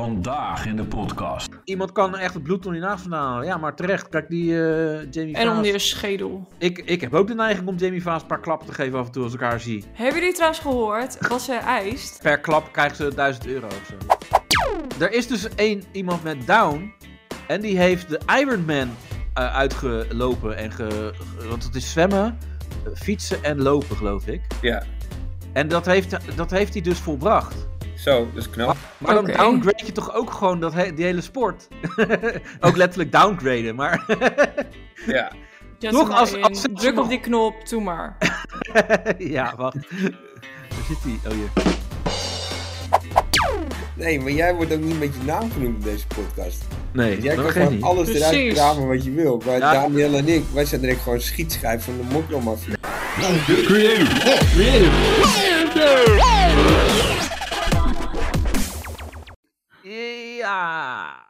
Vandaag in de podcast. Iemand kan echt het bloed door die naast vandaan halen. Ja, maar terecht. Kijk, die eh, Jamie En om Vaas. die schedel. Ik, ik heb ook de neiging om Jamie Vaas een paar klappen te geven af en toe als ik haar zie. Hebben jullie trouwens gehoord wat ze eist? Per klap krijgt ze 1000 euro of zo. Er is dus één iemand met down. En die heeft de Ironman eh, uitgelopen. En ge, ge- want het is zwemmen, eh, fietsen en lopen, geloof ik. Ja, En dat heeft, dat heeft hij dus volbracht. zo, dat is knap. Ah. Maar dan Oké. downgrade je toch ook gewoon dat he- die hele sport? ook letterlijk downgraden, maar... Ja. Zet Nog hem maar als- in. als- Druk op die knop, doe maar. ja, wacht. Waar zit hij? Oh, hier. Nee, maar jij wordt ook niet met je naam genoemd in deze podcast. Nee, Jij kan dat geeft gewoon niet. alles eruit Precies. kramen wat je wil. Maar Ja. Daniel en ik, wij zijn direct gewoon schietschijf van de mokkelmafia. Ja.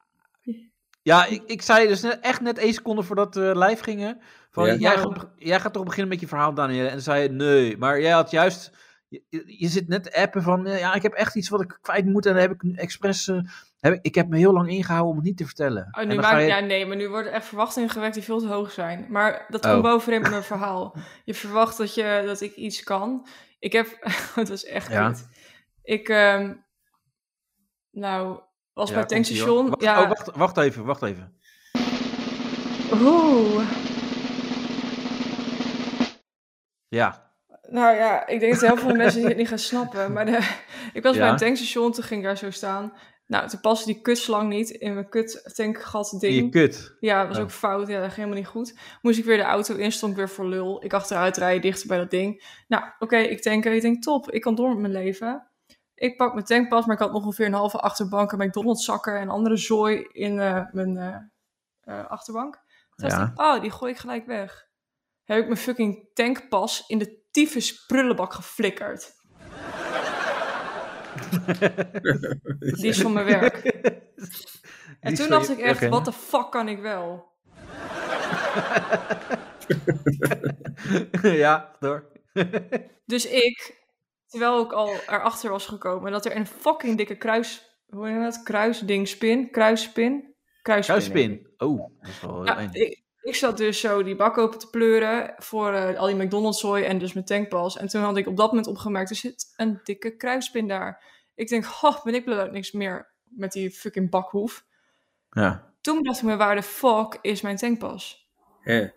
Ja, ik, ik zei dus net, echt net één seconde voordat we live gingen. Van, Ja. jij, Ja. gaat, beg- jij gaat toch beginnen met je verhaal, Daniel? En dan zei je, nee. Maar jij had juist... Je, je- je zit net te appen van, eh, ja, ik heb echt iets wat ik kwijt moet. En dan heb ik nu expres... eh, heb, ik- ik heb me heel lang ingehouden om het niet te vertellen. Oh, En nu dan maak ga ik, je- ja, nee, maar nu worden echt verwachtingen gewekt die veel te hoog zijn. Maar dat komt Oh. bovenin met mijn verhaal. Je verwacht dat, je, dat ik iets kan. Ik heb, het was echt Ja. goed. Ik, ehm, nou, was Ja, bij het komt-ie, hoor. tankstation. Wacht, ja, oh, wacht, wacht even, wacht even. Oeh. Ja. Nou ja, ik denk dat heel veel mensen dit niet gaan snappen. Maar de, ik was bij Ja. een tankstation, toen ging ik daar zo staan. Nou, toen paste die kutslang niet in mijn kut tankgat ding. Je kut. Ja, dat was Oh. ook fout. Ja, dat ging helemaal niet goed. Moest ik weer de auto in, stond ik weer voor lul. Ik achteruit rijden, dichter bij dat ding. Nou, oké, ik denk, ik denk top, ik kan door met mijn leven. Ik pak mijn tankpas, maar ik had nog ongeveer een halve achterbank... en McDonald's zakken en andere zooi in eh, mijn eh, eh, achterbank. Toen Ja. dacht ik, oh, die gooi ik gelijk weg. Heb ik mijn fucking tankpas in de tyfus prullenbak geflikkerd. Die is van mijn werk. En toen dacht ik echt, wat de fuck kan ik wel? ja, door. Dus ik, terwijl ik al erachter was gekomen dat er een fucking dikke kruis... Hoe heet dat? Kruisding spin? Kruispin? Kruispin. Kruisspin. Oh, dat is wel Ja, eng. ik, ik zat dus zo die bak open te pleuren voor eh, al die McDonald's zooi en dus mijn tankpas. En toen had ik op dat moment opgemerkt, er zit een dikke kruispin daar. Ik denk, oh, ben ik blij dat ik niks meer met die fucking bakhoef. Ja. Toen dacht ik me, waar de fuck is mijn tankpas? Ja.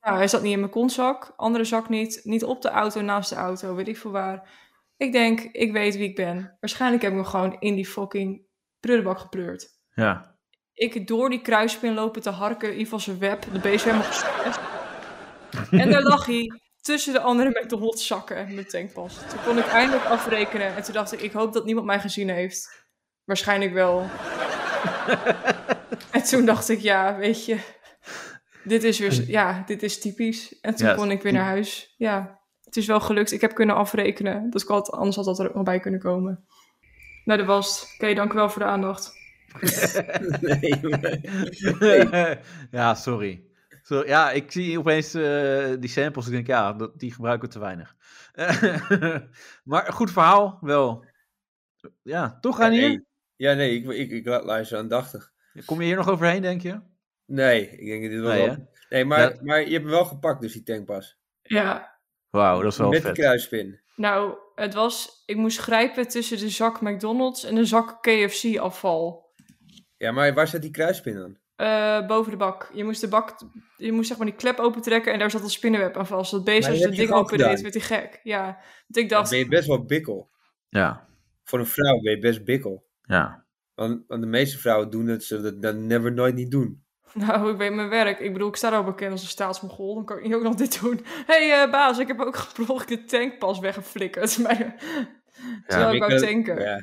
Nou, hij zat niet in mijn kontzak, andere zak niet, niet op de auto, naast de auto, weet ik veel waar. Ik denk, ik weet wie ik ben. Waarschijnlijk heb ik hem gewoon in die fucking prullenbak gepleurd. Ja. Ik door die kruispin lopen te harken, Ivan zijn web, de beest helemaal gestrest. En daar lag hij tussen de andere McDonald's zakken, mijn tankpas. Toen kon ik eindelijk afrekenen en toen dacht ik, ik hoop dat niemand mij gezien heeft. Waarschijnlijk wel. en toen dacht ik, ja, weet je, dit is weer, ja, dit is typisch. En toen Ja, kon ik weer naar huis. Ja, het is wel gelukt. Ik heb kunnen afrekenen. Dat kan, anders had dat er ook nog bij kunnen komen. Nou, dat was het. Oké, dank u wel voor de aandacht. Nee, maar- ja, sorry. Zo, ja, ik zie opeens eh, die samples. Ik denk, ja, dat, die gebruiken we te weinig. maar goed verhaal, wel. Ja, toch aan hier? nee. Ja, nee, ik, ik, ik laat luisteren aandachtig. Kom je hier nog overheen, denk je? Nee, ik denk dat dit wel. Nee, wel- hè? Nee, maar, Ja. maar je hebt hem wel gepakt, dus die tankpas. Ja, Wauw, dat is wel Met vet. die kruispin. Nou, het was. Ik moest grijpen tussen de zak McDonald's en de zak KFC-afval. Ja, maar waar zit die kruispin dan? Eh, boven de bak. Je moest de bak. Je moest zeg maar die klep opentrekken en daar zat een spinnenweb aan vast. Dat beest Maar als dat het heb je ding gewoon open deed, werd gedaan. hij gek. Ja. Want ik Dan dacht. ben je best wel bikkel. Ja, Voor een vrouw ben je best bikkel. ja. Want, want de meeste vrouwen doen het, ze dat dan never nooit niet doen. Nou, ik weet mijn werk. Ik bedoel, ik sta daar al bekend als een staatsmogol. Dan kan ik niet ook nog dit doen. Hé, hey, eh, baas, ik heb ook geprobeerd de tankpas weggeflikkerd. Maar- Terwijl ik Maar wou kan- tanken. Ja.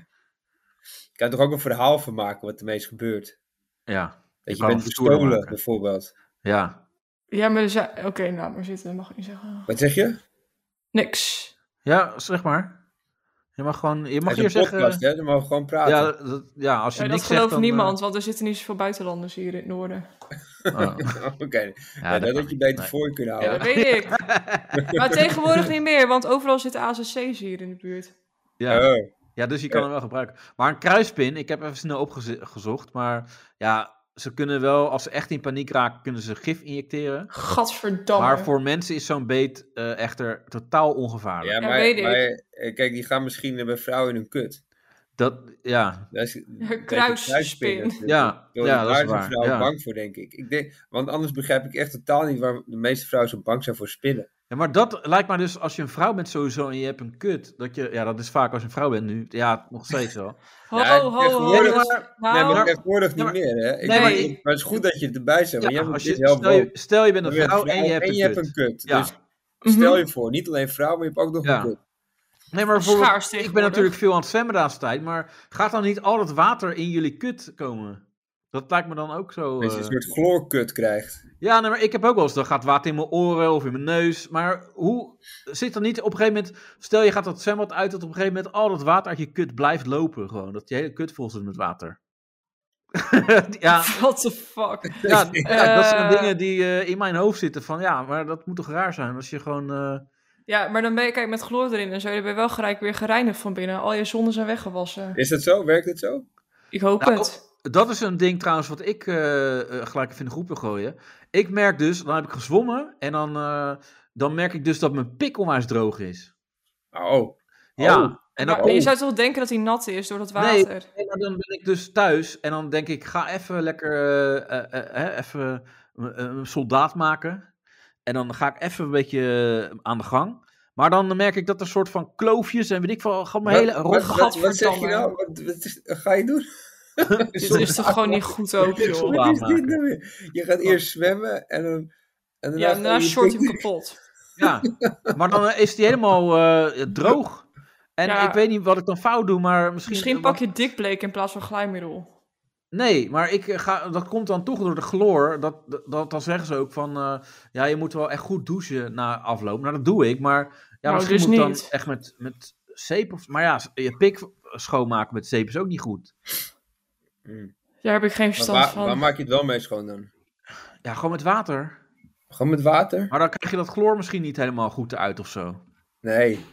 Ik kan er toch ook een verhaal van maken wat ermee is gebeurd. Ja, Dat je, kan bent het stoer gestolen, maken. bijvoorbeeld. ja. Ja, maar er zijn. Oké, nou, maar zitten. Dat mag ik niet zeggen. Wat zeg je? Niks. Ja, zeg maar. Je mag gewoon, je mag Het is hier een zeggen... podcast, hè? Dan mogen we gewoon praten. ja, dat- ja, als je Ja, dat niks gelooft zegt, dan, eh, niemand, want er zitten niet zoveel buitenlanders hier in het noorden. oh. Ja, dat Oké, dat, kan had je niet. beter Nee. voor je kunnen Ja, houden. Oh, dat weet ik. maar tegenwoordig niet meer, want overal zitten AZC's hier in de buurt. Ja. Oh, Ja, dus je kan Ja. hem wel gebruiken. Maar een kruispin, ik heb even snel opgezocht. Maar ja, ze kunnen wel, als ze echt in paniek raken, kunnen ze gif injecteren. Gadverdamme. Maar voor mensen is zo'n beet eh, echter totaal ongevaarlijk. Ja, maar, weet ik. maar, eh, kijk, die gaan misschien eh, bij vrouwen in hun kut. Dat, ja. Dat is, dat is kruisspin. kruisspin. Dat- Ja, dat- ja, dat is daar zijn waar, vrouwen ja. bang voor, denk ik. ik denk, want anders begrijp ik echt totaal niet waarom de meeste vrouwen zo bang zijn voor spinnen. ja, maar dat lijkt mij dus, als je een vrouw bent sowieso en je hebt een kut. Dat je, ja, dat is vaak als je een vrouw bent nu. Ja, nog steeds wel. Ho, Ja, ho, ho. tegenwoordig- dus- nee, maar, nou, tegenwoordig Ja, niet meer, hè? Ik Nee. bedoel, maar het is goed dat je erbij bent, want Ja, jij bent als dit je, heel stel, je, boven. stel je bent een Je bent vrouw en je hebt en een kut. Ja. Dus mhm. stel je voor, niet alleen vrouw, maar je hebt ook nog Ja. een kut. Nee, maar bijvoorbeeld, Schaars ik ben tegenwoordig. natuurlijk veel aan het zwemmen de laatste tijd, maar gaat dan niet al dat water in jullie kut komen? Dat lijkt me dan ook zo. Dat je een eh, soort chloorkut krijgt. Ja, nee, maar ik heb ook wel eens, dan gaat water in mijn oren of in mijn neus. Maar hoe zit er niet op een gegeven moment, stel je gaat dat zwembad uit, dat op een gegeven moment al dat water uit je kut blijft lopen gewoon. Dat je hele kut vol zit met water. ja, Mhm. What the fuck? ja, ja, dat zijn Eh. dingen die eh, in mijn hoofd zitten van ja, maar dat moet toch raar zijn als je gewoon... eh, Ja, maar dan ben je, kijk, met chloor erin en zo, dan ben je wel gelijk weer gereinigd van binnen. Al je zonden zijn weggewassen. Is dat zo? Werkt het zo? Oh. Ik hoop Nou, het. Dat is een ding trouwens wat ik eh, eh, gelijk even in de groep wil gooien. Ik merk dus, dan heb ik gezwommen en dan, eh, dan merk ik dus dat mijn pik onwijs droog is. Oh, Oh. Ja, en dan, Maar, kom- je zou toch denken dat hij nat is door dat Nee. water? en dan ben ik dus thuis en dan denk ik, ga even lekker eh, eh, eh, hè, even een- een soldaat maken. En dan ga ik even een beetje eh, aan de gang. Maar dan merk ik dat er een soort van kloofjes en weet ik veel, gaat mijn hele wat, rot wat, wat, wat zeg je Gadverdamme. nou? Wat, wat is- ga je doen? Dit is toch gewoon niet goed ook, joh. Sorry. Wat is dit maken. nou weer? Je gaat eerst zwemmen en dan... En daarna Ja, ga na je short pik- hem kapot. Ja, maar dan eh, is die helemaal eh, droog. En Ja. ik weet niet wat ik dan fout doe, maar misschien... eh, Misschien pak je dikbleek in plaats van glijmiddel. Nee, maar ik eh, ga, dat komt dan toch door de chloor. Dat, dat, dat dan zeggen ze ook van, eh, ja, je moet wel echt goed douchen na afloop. Nou, dat doe ik, maar ja, Nou, misschien dus moet dan niet. echt met, met zeep of... Maar ja, je pik schoonmaken met zeep is ook niet goed. Hmm. Daar heb ik geen Maar verstand waar, van. waar maak je het wel mee schoon dan? Ja, gewoon met water. Gewoon met water? Maar dan krijg je dat chloor misschien niet helemaal goed uit of zo. Nee.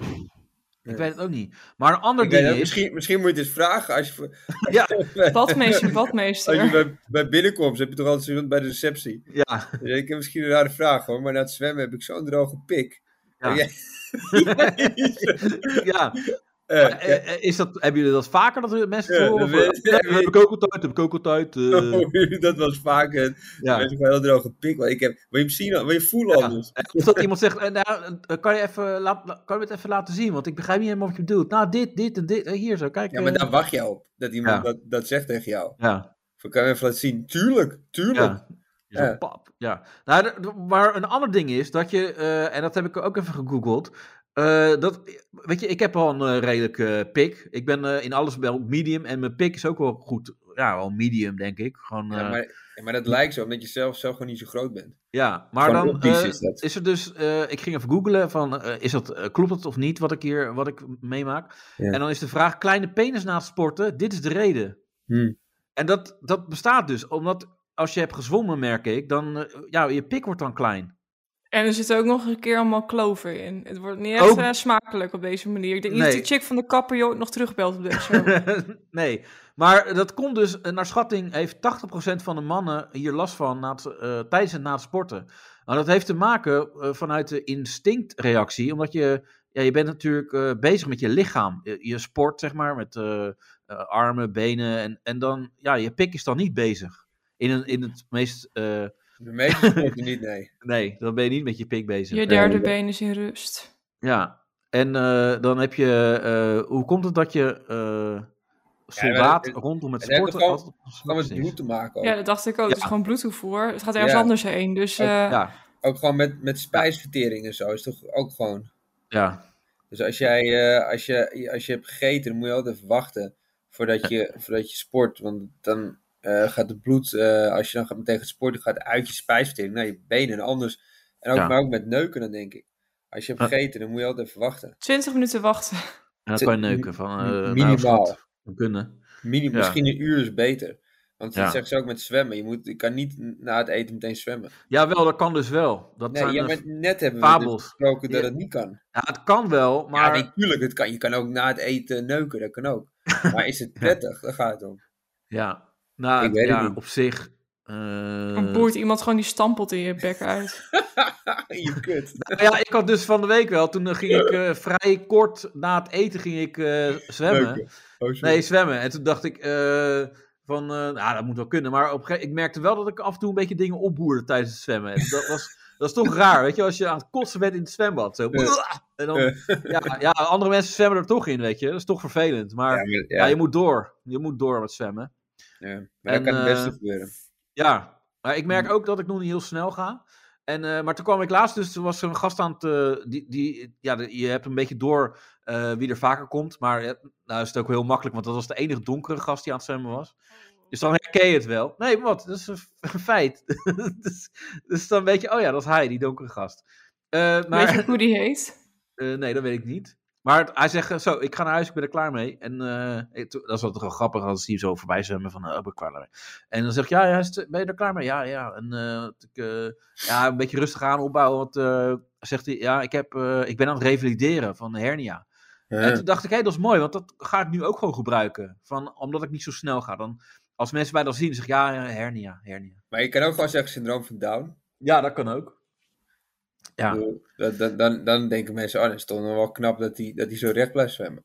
Ik weet het ook niet. Maar een ander Ik weet ding het, is... misschien, misschien moet je het eens vragen. Als je, voor- Ja, Badmeester, als Oh, je badmeester. bij, bij binnenkomst heb je toch altijd iemand bij de receptie. ja, Dus ik heb misschien een rare vraag hoor, maar na het zwemmen heb ik zo'n droge pik. Ja. Ja. ja. Eh, Eh, eh, Is dat, hebben jullie dat vaker dat er mensen Ja, het horen? dat Of, eh, weet- nee, dat heb ik ook altijd, dat heb ik ook altijd. eh, dat was vaak een, ja. een heel droge pik. Want ik heb, wil je hem zien? al- Wil je voelen Ja. anders? Eh, Of dat iemand zegt, eh, nou, eh, kan je, even, laat, la- kan je het even laten zien? Want ik begrijp niet helemaal wat je bedoelt. Nou, dit, dit en dit. eh, Hier zo, kijk. Ja, maar eh, daar wacht je op. Dat iemand Ja. dat, dat zegt tegen jou. ja, Van, kan je even laten zien? Tuurlijk, tuurlijk. ja. Zo, Ja. pap. Ja. Nou, d- d- maar een ander ding is dat je, eh, en dat heb ik ook even gegoogeld. eh, dat, weet je, ik heb al een eh, redelijke eh, pik. Ik ben eh, in alles wel medium en mijn pik is ook wel goed. Ja, wel medium, denk ik. Gewoon, Ja, eh, maar, ja, maar dat lijkt zo, omdat je zelf zo gewoon niet zo groot bent. Ja, maar Gewoon dan optisch eh, is dat. er dus. eh, ik ging even googlen van eh, is dat, eh, klopt het of niet wat ik hier wat ik meemaak. Ja. En dan is de vraag: kleine penis na het sporten, dit is de reden. Hmm. En dat, dat bestaat dus, omdat als je hebt gezwommen, merk ik, dan eh, ja, je pik wordt dan klein. En er zitten ook nog een keer allemaal kloven in. Het wordt niet echt Ook- eh, smakelijk op deze manier. Ik denk niet Nee. dat die chick van de kapper je ooit nog terugbelt op deze show. nee, maar dat komt dus, eh, naar schatting heeft 80% van de mannen hier last van na het, eh, tijdens en na het sporten. Maar dat heeft te maken eh, vanuit de instinctreactie, omdat je, ja, je bent natuurlijk eh, bezig met je lichaam. Je, je sport, zeg maar, met eh, eh, armen, benen en, en dan, ja, je pik is dan niet bezig. In, een, in het meest, eh, De meeste sporten niet, nee. nee, dan ben je niet met je pik bezig. je derde been is in rust. Ja, en eh, dan heb je, eh, hoe komt het dat je eh, soldaat het- rondom het het heeft sporten gewoon- altijd op Gewoon met is? bloed te maken ook. Ja, dat dacht ik ook. Ja. Het is gewoon bloedtoevoer. Het gaat ergens Ja. anders heen. Dus Ook- eh, Ja, Ook gewoon met, met spijsvertering en zo. Is toch ook gewoon... ja, Dus als, jij, eh, als, je, als je hebt gegeten, dan moet je altijd even wachten voordat je, voordat je sport. Want dan eh, gaat het bloed, eh, als je dan gaat tegen het sporten, gaat uit je spijsvertering naar je benen en anders. En ook, Ja. maar ook met neuken dan denk ik. Als je hebt Ja. gegeten, dan moet je altijd even wachten. 20 minuten wachten. en dan Het- kan je neuken van, eh nou, minimaal. schat, we kunnen. Minim, Ja. Misschien een uur is beter. Want Ja. dat zeggen ze ook met zwemmen. Je, moet, je kan niet na het eten meteen zwemmen. Jawel, dat kan dus wel. Dat Nee, zijn ja, eh, maar net hebben we fabels. besproken dat Ja. het niet kan. ja, het kan wel, maar Ja, natuurlijk, het kan. Je kan ook na het eten neuken, dat kan ook. Maar is het prettig? Daar gaat het om. Ja, nou, Ik weet het ja, niet. op zich. eh, Dan boert iemand gewoon die stampelt in je bek uit. je kut. nou ja, ik had dus van de week wel. Toen eh, ging ik eh, vrij kort na het eten ging ik eh, zwemmen. Neuken. Oh, sorry. Nee, zwemmen. En toen dacht ik eh, van, eh, nou, dat moet wel kunnen. Maar op een gege- ik merkte wel dat ik af en toe een beetje dingen opboerde tijdens het zwemmen. En dat was, dat is toch raar, weet je, als je aan het kotsen bent in het zwembad. Zo, en dan, ja, ja, andere mensen zwemmen er toch in, weet je. Dat is toch vervelend. Maar Ja, maar, ja, ja, je moet door. Je moet door met zwemmen. ja. Maar dat En, kan het beste eh, gebeuren. Ja, maar ik Hmm. merk ook dat ik nog niet heel snel ga. En, eh, maar toen kwam ik laatst, dus er was een gast aan het. eh, die, die, ja, de- je hebt een beetje door eh, wie er vaker komt. Maar eh, nou is het ook heel makkelijk, want dat was de enige donkere gast die aan het zwemmen was. Oh. Dus dan herken je het wel. Nee, maar wat? Dat is een, f- een feit. dus, dus dan weet je, oh ja, dat is hij, die donkere gast. Eh, maar, Weet je ook hoe die heet? eh, nee, dat weet ik niet. Maar het- hij zegt, eh, zo, ik ga naar huis, ik ben er klaar mee. En eh, ik- toen- dat is altijd wel grappig als hij zo voorbij zwemmen van, eh, ik ben klaar mee. En dan zeg ik, ja, ja, is het- ben je er klaar mee? Ja, ja. En eh, dat ik, eh, ja, een beetje rustig aan opbouwen. Want eh, zegt hij, ja, ik, heb, eh, ik ben aan het revalideren van een hernia. En toen dacht ik, hé, dat is mooi, want dat ga ik nu ook gewoon gebruiken. Van, omdat ik niet zo snel ga. Dan, als mensen mij dan zien, zeggen ja, ja, hernia, hernia. Maar je kan ook gewoon zeggen syndroom van Down. Ja, dat kan ook. Ja. Ik bedoel, dat- Dan, dan, dan denken mensen, oh, dat is toch nog wel knap dat hij dat die zo recht blijft zwemmen.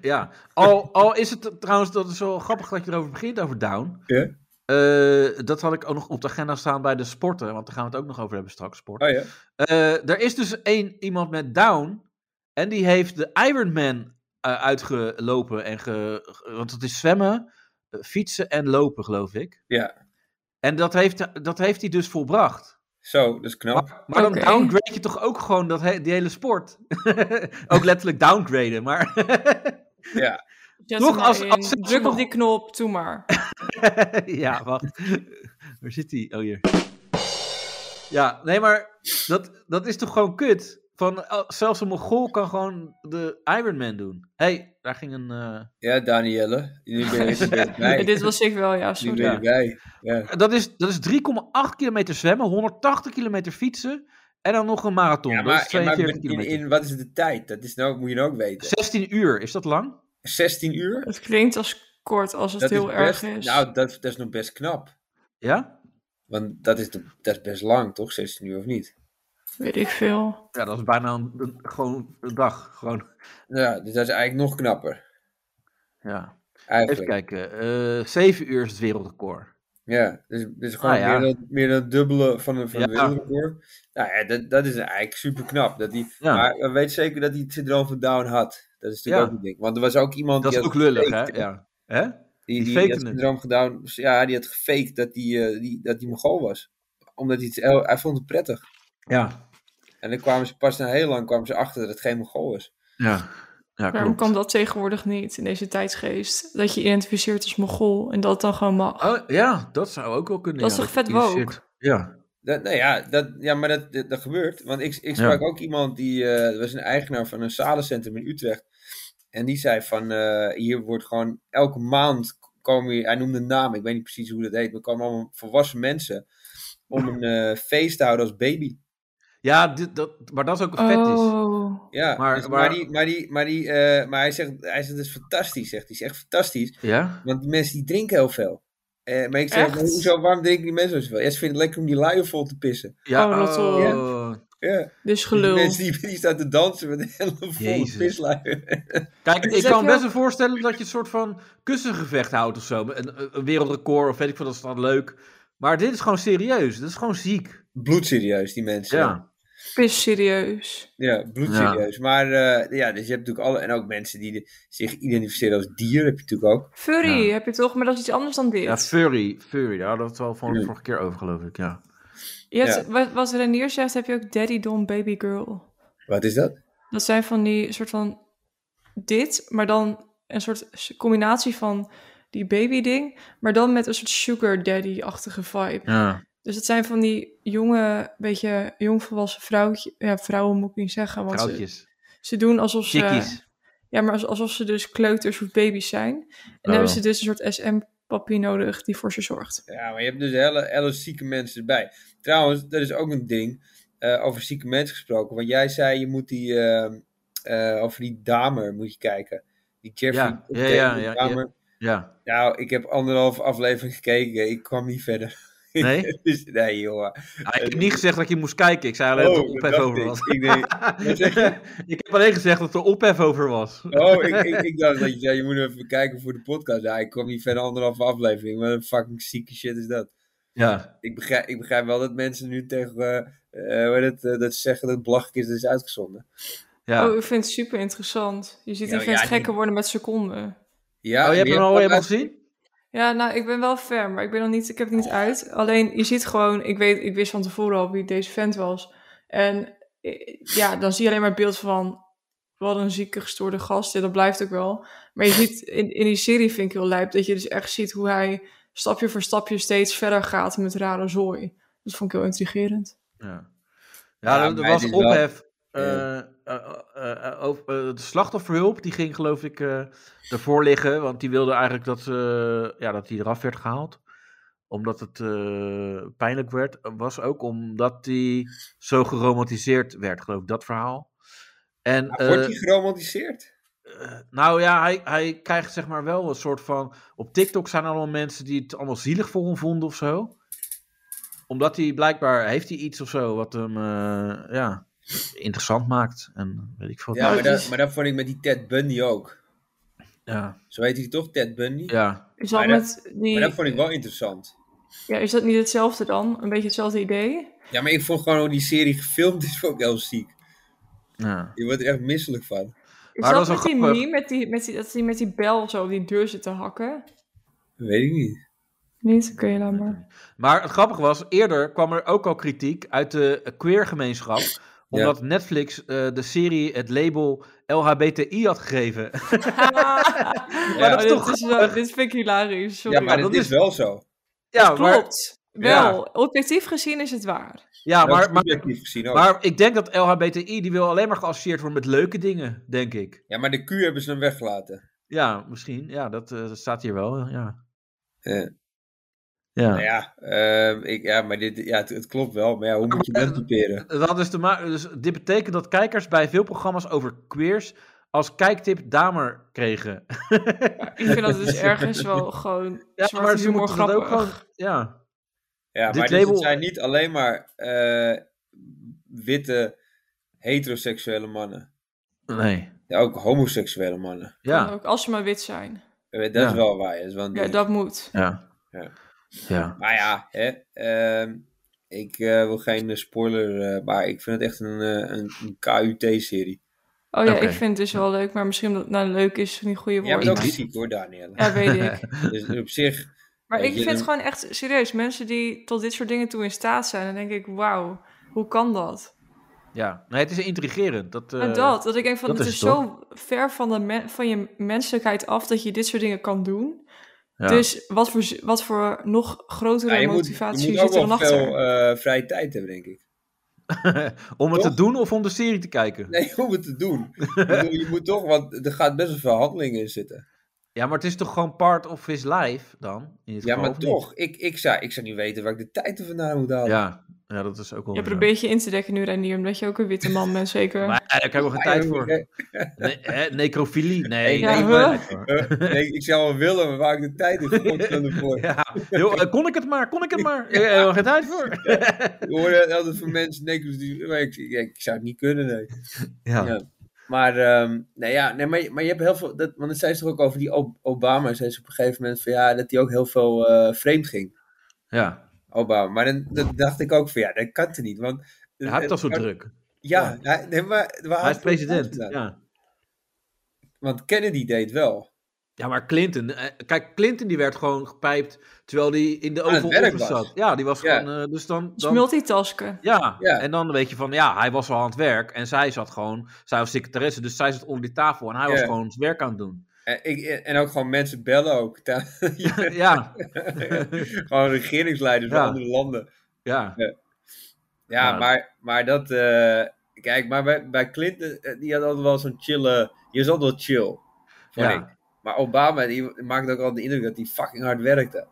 Ja, al, al is het trouwens, dat is wel grappig dat je erover begint, over down. Ja. Eh, dat had ik ook nog op de agenda staan bij de sporten, want daar gaan we het ook nog over hebben straks, sport. Oh ja? Eh, er is dus één iemand met down en die heeft de Ironman eh, uitgelopen. En ge, ge- want het is zwemmen, eh, fietsen en lopen, geloof ik. Ja. En dat heeft, dat heeft hij dus volbracht. Zo, dat is knap. Maar, maar Oké. dan downgrade je toch ook gewoon dat he- die hele sport. ook letterlijk downgraden, maar... Zet Toch hem maar als- in. als- Druk op die knop, doe maar. ja, wacht. Waar zit hij? Oh, hier. Ja, nee, maar dat, dat is toch gewoon kut? Van, oh, zelfs een Mongool kan gewoon de Ironman doen. Hé, hey, daar ging een... eh, Ja, Danielle. Nu ben je, nu ben je erbij. Dit was ik wel, ja, Nu sorry. ben je erbij. Ja. Dat is, dat is 3,8 kilometer zwemmen, 180 kilometer fietsen en dan nog een marathon. Ja, dat maar, is ja, maar 42 in, kilometer. in, wat is de tijd? Dat is nou, moet je nou ook weten. 16 uur, is dat lang? 16 uur? Het klinkt als kort als het Dat heel is erg best, is. Nou, dat, dat is nog best knap. Ja? Want dat is, de, dat is best lang, toch? 16 uur of niet? Weet ik veel. Ja, dat is bijna een, een- gewoon een dag. Gewoon, Ja, dus dat is eigenlijk nog knapper. ja. Even Eigenlijk. kijken, eh 7 uur is het wereldrecord. Ja, dus, dus gewoon Ah, ja. meer, dan, meer dan het dubbele van een, van een Ja. wereldrecord. Nou ja, dat, dat is eigenlijk super knap. Dat die, Ja. Maar we weten zeker dat hij het syndroom van Down had. Dat is Ja. natuurlijk ook een ding. Want er was ook iemand Dat is die, ook had, lullig, hè? gefaked, Ja. Hè? die, die die, die had fakende. syndroom van Down, ja, die had gefaked dat die, eh, die, dat die Mongool was. Omdat hij, het, heel- hij vond het prettig. Ja. En dan kwamen ze pas na heel lang kwamen ze achter dat het geen Mongool was. Ja, ja Waarom klopt. kan dat tegenwoordig niet in deze tijdsgeest? Dat je identificeert als Mongool en dat dan gewoon mag. Oh, ja, dat zou ook wel kunnen. Dat is ja, toch vet je die shit- woke? Ja. Dat, nou ja, dat, ja maar dat, dat, dat gebeurt. Want ik, ik sprak ook iemand die eh, dat was een eigenaar van een zalencentrum in Utrecht. En die zei van, eh, hier wordt gewoon elke maand komen hier, hij noemde een naam, ik weet niet precies hoe dat heet, maar komen allemaal volwassen mensen om een eh, feest te houden als baby. Ja, dit, dat, maar dat is ook een vet is. Oh. Ja, Maar- maar, maar, maar- die, maar, die, maar, die, eh, maar hij zegt, hij zegt, het is fantastisch, zegt hij, het is echt fantastisch. Ja? Want die mensen die drinken heel veel. Eh, maar ik zeg, Echt? hoezo, waarom drinken die mensen zoveel? Ja, ze vinden het lekker om die luien vol te pissen. Ja, Oh, dat wel. Ja. Dus gelul. Die mensen die, die staan te dansen met een hele volle Jezus. pisluier. Kijk, ik Zeg kan je me best ook- wel voorstellen dat je een soort van kussengevecht houdt of zo. Een, een wereldrecord of weet ik veel, dat is dan leuk. Maar dit is gewoon serieus. Dit is gewoon ziek. Bloedserieus, die mensen. Ja. Pis serieus. Ja, bloedserieus. Maar eh, ja, dus je hebt natuurlijk alle... En ook mensen die de- zich identificeren als dier, heb je natuurlijk ook. Furry Ja. heb je toch, maar dat is iets anders dan dit. Ja, furry. Furry, daar hadden we het wel van de Ja. vorige keer over, geloof ik. Ja. Je hebt, wat, wat Renier zegt, heb je ook daddy dom baby girl. Wat is dat? Dat zijn van die soort van dit, maar dan een soort s- combinatie van die baby ding, maar dan met een soort sugar daddy-achtige vibe. Ja. Dus dat zijn van die jonge, beetje jongvolwassen vrouwtje, ja, vrouwen moet ik niet zeggen, want ze, Vrouwtjes. ze doen alsof ze... Chickies. Oh. Ja, maar als- alsof ze dus kleuters of baby's zijn. En dan hebben ze dus een soort SM papier nodig die voor ze zorgt. Ja, maar je hebt dus hele, hele zieke mensen erbij. Trouwens, dat is ook een ding. eh, over zieke mensen gesproken. Want jij zei, je moet die... eh, eh, over die Damer moet je kijken. Die Jeffrey Ja, ja, ja, ja, ja. Dahmer. Ja. Nou, ik heb anderhalf aflevering gekeken. Ik kwam niet verder. Nee? dus, nee, joh. Ah, ik heb niet gezegd dat je moest kijken. Ik zei alleen Oh, dat er ophef over was. Oh, ik. Ik denk, wat zeg je? ik heb alleen gezegd dat er ophef over was. Oh, ik, ik, ik dacht dat je zei, je moet even kijken voor de podcast. Ja, ik kwam niet verder anderhalf aflevering. Wat een fucking zieke shit is dat. Ja. Ik begrijp, ik begrijp wel dat mensen nu tegen, eh, eh, hoe heet het, eh, dat ze zeggen dat Blachkist is uitgezonden. ja. Oh, ik vind het super interessant. Je ziet Ja, die vent ja, die- gekker worden met seconden. Ja, Oh, je maar hebt hem al, je hebt hem al uit- gezien? Ja, nou, ik ben wel ver, maar ik, ben nog niet, ik heb het niet uit. Alleen, je ziet gewoon, ik, weet, ik wist van tevoren al wie deze vent was. En eh, ja, dan zie je alleen maar het beeld van, wat een zieke gestoorde gast. Ja, dat blijft ook wel. Maar je ziet, in, in die serie vind ik heel lijp, dat je dus echt ziet hoe hij stapje voor stapje steeds verder gaat met rare zooi. Dat vond ik heel intrigerend. Ja, Ja, ja er- er maar was het is wel- ophef. eh, eh, eh, eh, over- eh, de slachtofferhulp die ging geloof ik eh ervoor liggen, want die wilde eigenlijk dat, ze, ja, dat die eraf werd gehaald omdat het eh, pijnlijk werd, was ook omdat die zo geromantiseerd werd, geloof ik, dat verhaal. En, Maar Wordt eh, hij geromantiseerd? Eh, nou ja, hij, hij krijgt zeg maar wel een soort van. Op TikTok zijn allemaal mensen die het allemaal zielig voor hem vonden of zo. Omdat hij blijkbaar heeft hij iets of zo wat hem eh, ja, interessant maakt. En weet ik veel. Ja, Ja, maar het dat, is- maar dat vond ik met die Ted Bundy ook. ja, Zo heet hij toch, Ted Bundy? ja. Is dat, Maar dat- met die, Maar dat vond ik wel interessant. ja, is dat niet hetzelfde dan? Een beetje hetzelfde idee? Ja, maar ik vond gewoon hoe die serie gefilmd is vond ik heel ziek. ja. Je wordt er echt misselijk van. Is Maar dat, dat is met die wel grappig. meme, met die, met die, dat hij met die bel zo op die deur zit te hakken? Weet ik niet. Niet? Oké, laat maar. Maar het grappige was, eerder kwam er ook al kritiek uit de queer gemeenschap. Omdat Netflix eh, de serie het label LHBTI had gegeven. Ja, maar dat is toch. dit, is wel- dit vind ik hilarisch. Sorry. Ja, maar dat dat is is- wel zo. ja, maar, Klopt. Ja. Wel. Objectief gezien is het waar. ja, Dat is maar, maar objectief gezien ook. Maar ik denk dat LHBTI, die wil alleen maar geassocieerd worden met leuke dingen, denk ik. Ja, maar de Q hebben ze dan weggelaten. Ja, misschien. Ja, dat, eh, dat staat hier wel, ja. Eh. Ja. Nou ja, ehm, ik, ja, maar dit, ja, het, het klopt wel. Maar ja, hoe moet je dat typeren? Dat had dus te ma- dus dit betekent dat kijkers bij veel programma's over queers als kijktip damer kregen. Ik vind dat dus ergens wel gewoon ja, zwarte maar humor moeten dat grappig. Ja, Ja, Dit maar dit label- zijn niet alleen maar eh, witte heteroseksuele mannen. nee. Ja, ook homoseksuele mannen. Kan Ja, Ook, als ze maar wit zijn. Eh, Dat Ja. is wel waar. Dat is wel een Ja, ding. dat moet. ja. Ja. Ja. Maar ja, hè, ehm, ik eh, wil geen eh, spoiler, eh, maar ik vind het echt een, eh, een, een KUT-serie. Oh ja, Oké. ik vind het dus wel leuk, maar misschien omdat het nou leuk is, is het niet goede Ja, maar woord. dat is ziek hoor, Daniel. Ja, weet ik. Dus op zich, Maar Weet ik je, vind dan- gewoon echt serieus, mensen die tot dit soort dingen toe in staat zijn, dan denk ik, wauw, hoe kan dat? ja. Nee, het is intrigerend. Dat, eh, En dat, dat ik denk van, dat het is is, het zo ver van, de men- van je menselijkheid af dat je dit soort dingen kan doen. ja. Dus wat voor, z- wat voor nog grotere ja, je, moet, je motivatie moet ook zit er dan wel achter? veel eh, vrije tijd hebben, denk ik. om het te Toch? doen of om de serie te kijken? Nee, om het te doen. Ik bedoel, je moet toch, want er gaat best wel veel handeling in zitten. Ja, maar het is toch gewoon part of his life dan? In dit Ja, geval, maar of niet? toch, ik, ik, zou, ik zou niet weten waar ik de tijd er vandaan moet halen. Ja, ja, dat is ook wel. Je weer zo. probeert je in te dekken nu, Renier, omdat je ook een witte man bent, zeker. Maar ja, daar krijg ik nog geen tijd voor. Nee, Ne- hè, necrofilie? Nee, daar Ja, heb ik huh? geen tijd voor. eh, nee, ik zou wel willen, maar waar ik de tijd in godsnaam voor. Ja, joh, eh, kon ik het maar, kon ik het maar. Ik heb er geen tijd voor. Ik hoorde altijd van mensen, nee, ik, die- maar ik, ik, ik zou het niet kunnen, nee. Ja, Ja. Maar, ehm, nou ja, nee, maar, maar je hebt heel veel. Dat, want het zei ze toch ook over die Ob- Obama. Zei ze op een gegeven moment van ja, dat hij ook heel veel eh, vreemd ging. Dus ja. Obama. Maar dan, dan dacht ik ook van ja, dat kan toch niet. Want, hij heeft al zo Ja, druk. Ja, hij- nee, maar, waar Hij is had president. vandaan? Ja. Want Kennedy deed wel. ja, maar Clinton, eh, kijk, Clinton die werd gewoon gepijpt terwijl die in de Aan het Oval werk Office was. zat. Ja, die was Ja. gewoon, eh, dus dan... Dus dan multitasken. ja. Ja. en dan weet je van, ja, hij was al aan het werk en zij zat gewoon, zij was secretaresse, dus zij zat onder die tafel en hij was Ja. gewoon zijn werk aan het doen. En, ik, en ook gewoon mensen bellen ook. Ja, Ja, gewoon regeringsleiders Ja. van andere landen. ja, Ja, Ja. maar, maar dat. eh, kijk, maar bij, bij Clinton, eh, die had altijd wel zo'n chille. Je was altijd wel chill. Ja. Vond ik. Maar Obama die maakte ook al de indruk dat hij fucking hard werkte.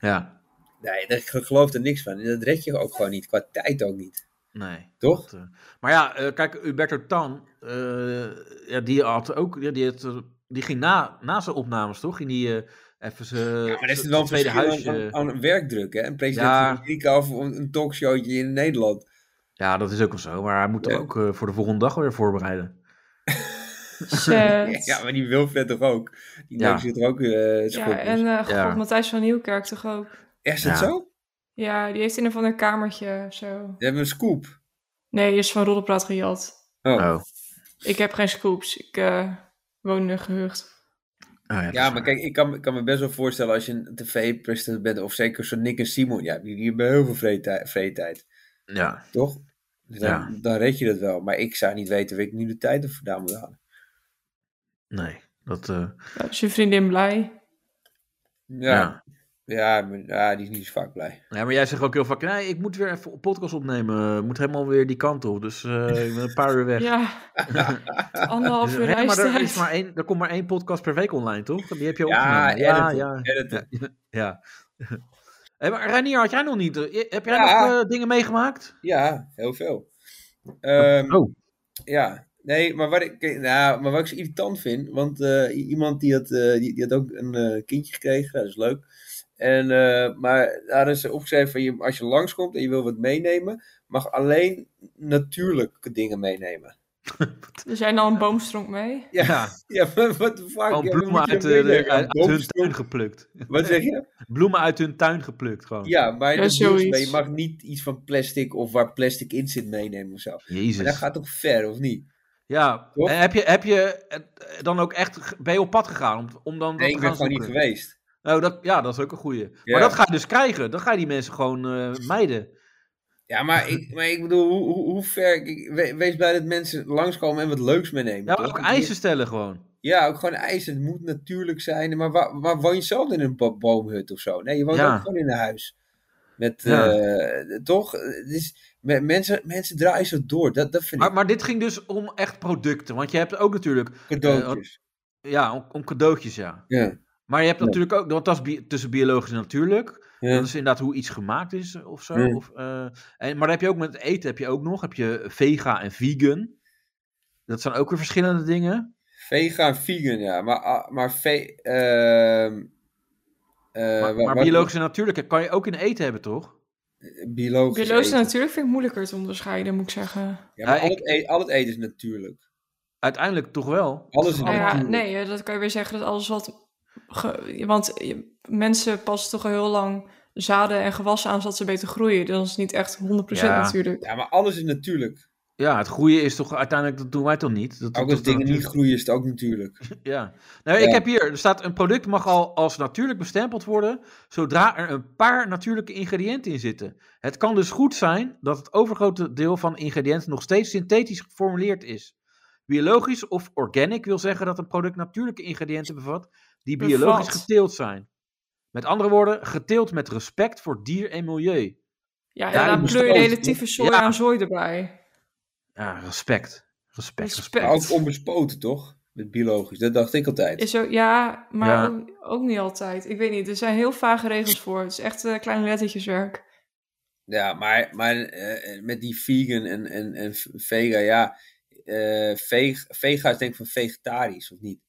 Ja, Nee, daar geloof er niks van. En dat red je ook gewoon niet. Qua tijd ook niet. nee. Toch? Dat, eh, Maar ja, eh, kijk, Huberto Tan, eh, ja, die had ook, ja, die, had, eh, die ging na, na zijn opnames, toch? Ging die eh, even zijn Ja, maar dat is zijn wel een tweede verschil huisje. aan, aan- aan werkdruk, hè? Een president Ja. van Amerika of een, een talkshowtje in Nederland. Ja, dat is ook wel zo, maar hij moet Ja. er ook eh, voor de volgende dag weer voorbereiden. Dus, Shit. Ja, maar die Wilfred toch ook? Die Ja. ja. zit er ook eh Ja, schop en eh, god, Ja. Matthijs van Nieuwkerk toch ook. Echt, is dat Ja. zo? Ja, die heeft in een van een kamertje zo. We hebben een scoop. Nee, die is van Roddelpraat gejat. Oh. Oh. Ik heb geen scoops. Ik eh, woon in een gehucht. Oh, dat is Ja, waar. maar kijk, ik kan, ik kan me best wel voorstellen als je een tv-president bent, of zeker zo'n Nick en Simon, ja, die, die hebben heel veel vrije tijd- vrije tijd, Ja, toch? Dus dan, Ja. dan red je dat wel. Maar ik zou niet weten waar ik nu de tijd ervoor vandaan moet halen. nee. Dat, eh, Nou, is je vriendin blij? Ja, ja. ja. maar, ja, die is niet zo vaak blij. Ja, maar jij zegt ook heel vaak, nee, ik moet weer even een podcast opnemen. Ik moet helemaal weer die kant op, dus eh, ik ben een paar uur weg. Ja. Anderhalf Dus, uur hè, maar er, luistijd. is maar één, er komt maar één podcast per week online, toch? Die heb je Ja, opgenomen. editen, editen. ja. ja. Hé, maar Reinier, had jij nog niet... eh, Heb jij Ja. nog eh, dingen meegemaakt? Ja, heel veel. Ehm, Oh. Ja, nee, maar wat ik, kijk, nou, maar wat ik zo irritant vind, want eh, i- iemand die had, eh, die, die had ook een eh, kindje gekregen, dat is leuk. En, eh, maar daar is opgeschreven van je, als je langskomt en je wil wat meenemen, mag alleen natuurlijke dingen meenemen. Er zijn al een boomstronk mee. Ja, ja. Ja, maar wat de fuck? gewoon ja, bloemen wat moet je uit, dan eh, de- meenemen? uit, uit hun Boomstok? tuin geplukt. Wat zeg je? Bloemen uit hun tuin geplukt, gewoon. Ja, maar Ja, dat is nieuws, zoiets. maar je mag niet iets van plastic of waar plastic in zit meenemen of zo. Maar dat Jezus. gaat toch ver, of niet? Ja, Toch? en heb je, heb je eh, dan ook echt... ge- Ben je op pad gegaan om, om dan... dat Nee, te gaan ik ben gewoon niet zoeken? geweest. Nou, dat, ja, dat is ook een goeie. Ja. Maar dat ga je dus krijgen. Dan ga je die mensen gewoon eh, mijden. Ja, maar ik, maar ik bedoel, hoe, hoe, hoe ver. ik- we- wees blij dat mensen langskomen en wat leuks meenemen. Ja, toch? ook eisen stellen gewoon. Ja, ook gewoon eisen. Het moet natuurlijk zijn. Maar waar, waar woon je zelf in een bo- boomhut of zo? Nee, je woont Ja. ook gewoon in een huis. Met, Ja. eh, toch? Het is, me- mensen, mensen draaien zo door. Dat, dat vind Maar, maar dit ging dus om echt producten. Want je hebt ook natuurlijk... ik cadeautjes. Ja, om, om cadeautjes, ja. ja. Maar je hebt Ja. natuurlijk ook... Want dat is bi- tussen biologisch en natuurlijk. Ja. Dat is inderdaad hoe iets gemaakt is eh, of zo. Ja. Of, eh, en, maar dan heb je ook met eten heb je ook nog. Heb je vega en vegan. Dat zijn ook weer verschillende dingen. Vegan, vegan, ja. Maar, ah, maar, ve, ehm, eh, Maar, wa- maar wat- biologisch en natuurlijk kan je ook in eten hebben, toch? biologisch. Biologisch eten. natuurlijk vind ik moeilijker te onderscheiden, moet ik zeggen. Ja, maar Ja, al, ik- het e- al het eten is natuurlijk. Uiteindelijk toch wel. Alles is Oh, Nou ja, natuurlijk. nee, eh, dat kan je weer zeggen dat alles wat... ge- want je- mensen passen toch al heel lang zaden en gewassen aan zodat ze beter groeien. Dus dat is niet echt 100% Ja. natuurlijk. Ja, maar alles is natuurlijk. Ja, het groeien is toch uiteindelijk, dat doen wij toch niet? Dat, Ook dat- als dingen dat- niet groeien is het ook natuurlijk. Ja. Nou, Ja. ik heb hier, er staat een product mag al als natuurlijk bestempeld worden, zodra er een paar natuurlijke ingrediënten in zitten. Het kan dus goed zijn dat het overgrote deel van ingrediënten nog steeds synthetisch geformuleerd is. Biologisch of organic wil zeggen dat een product natuurlijke ingrediënten bevat die Bevat. biologisch geteeld zijn. Met andere woorden, geteeld met respect voor dier en milieu. Ja, Ja, en dan die pleur je bespoot, relatieve soja Ja. en zooi erbij. Ja, respect. Respect, respect. Respect. Maar ook onbespoten, toch? Met biologisch, dat dacht ik altijd. Is ook, ja, maar Ja. Ook, ook niet altijd. Ik weet niet, er zijn heel vage regels voor. Het is echt eh, klein lettertjeswerk. Ja, maar, maar eh, met die vegan en, en, en vega, ja. eh, veg, vega is denk ik van vegetarisch, of niet?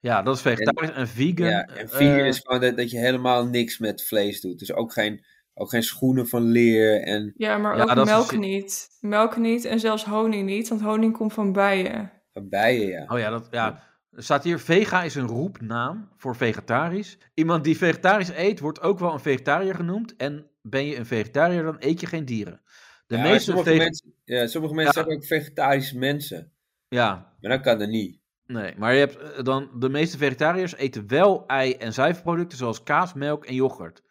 Ja, dat is vegetarisch en, vegan. ja, en vegan eh, is gewoon dat, dat je helemaal niks met vlees doet. Dus ook geen, ook geen schoenen van leer en Ja, maar Ja, dat ook is melk dus- niet. Melk niet en zelfs honing niet, want honing komt van bijen. van bijen, ja. Oh ja, dat, ja. Er staat hier, vega is een roepnaam voor vegetarisch. Iemand die vegetarisch eet, wordt ook wel een vegetariër genoemd. En ben je een vegetariër, dan eet je geen dieren. De Ja, meeste sommige, vege- mensen, ja, sommige mensen Ja. hebben ook vegetarische mensen. Ja, Maar dat kan er niet. nee. Maar je hebt eh, dan, de meeste vegetariërs eten wel ei- en zuivelproducten, zoals kaas, melk en yoghurt.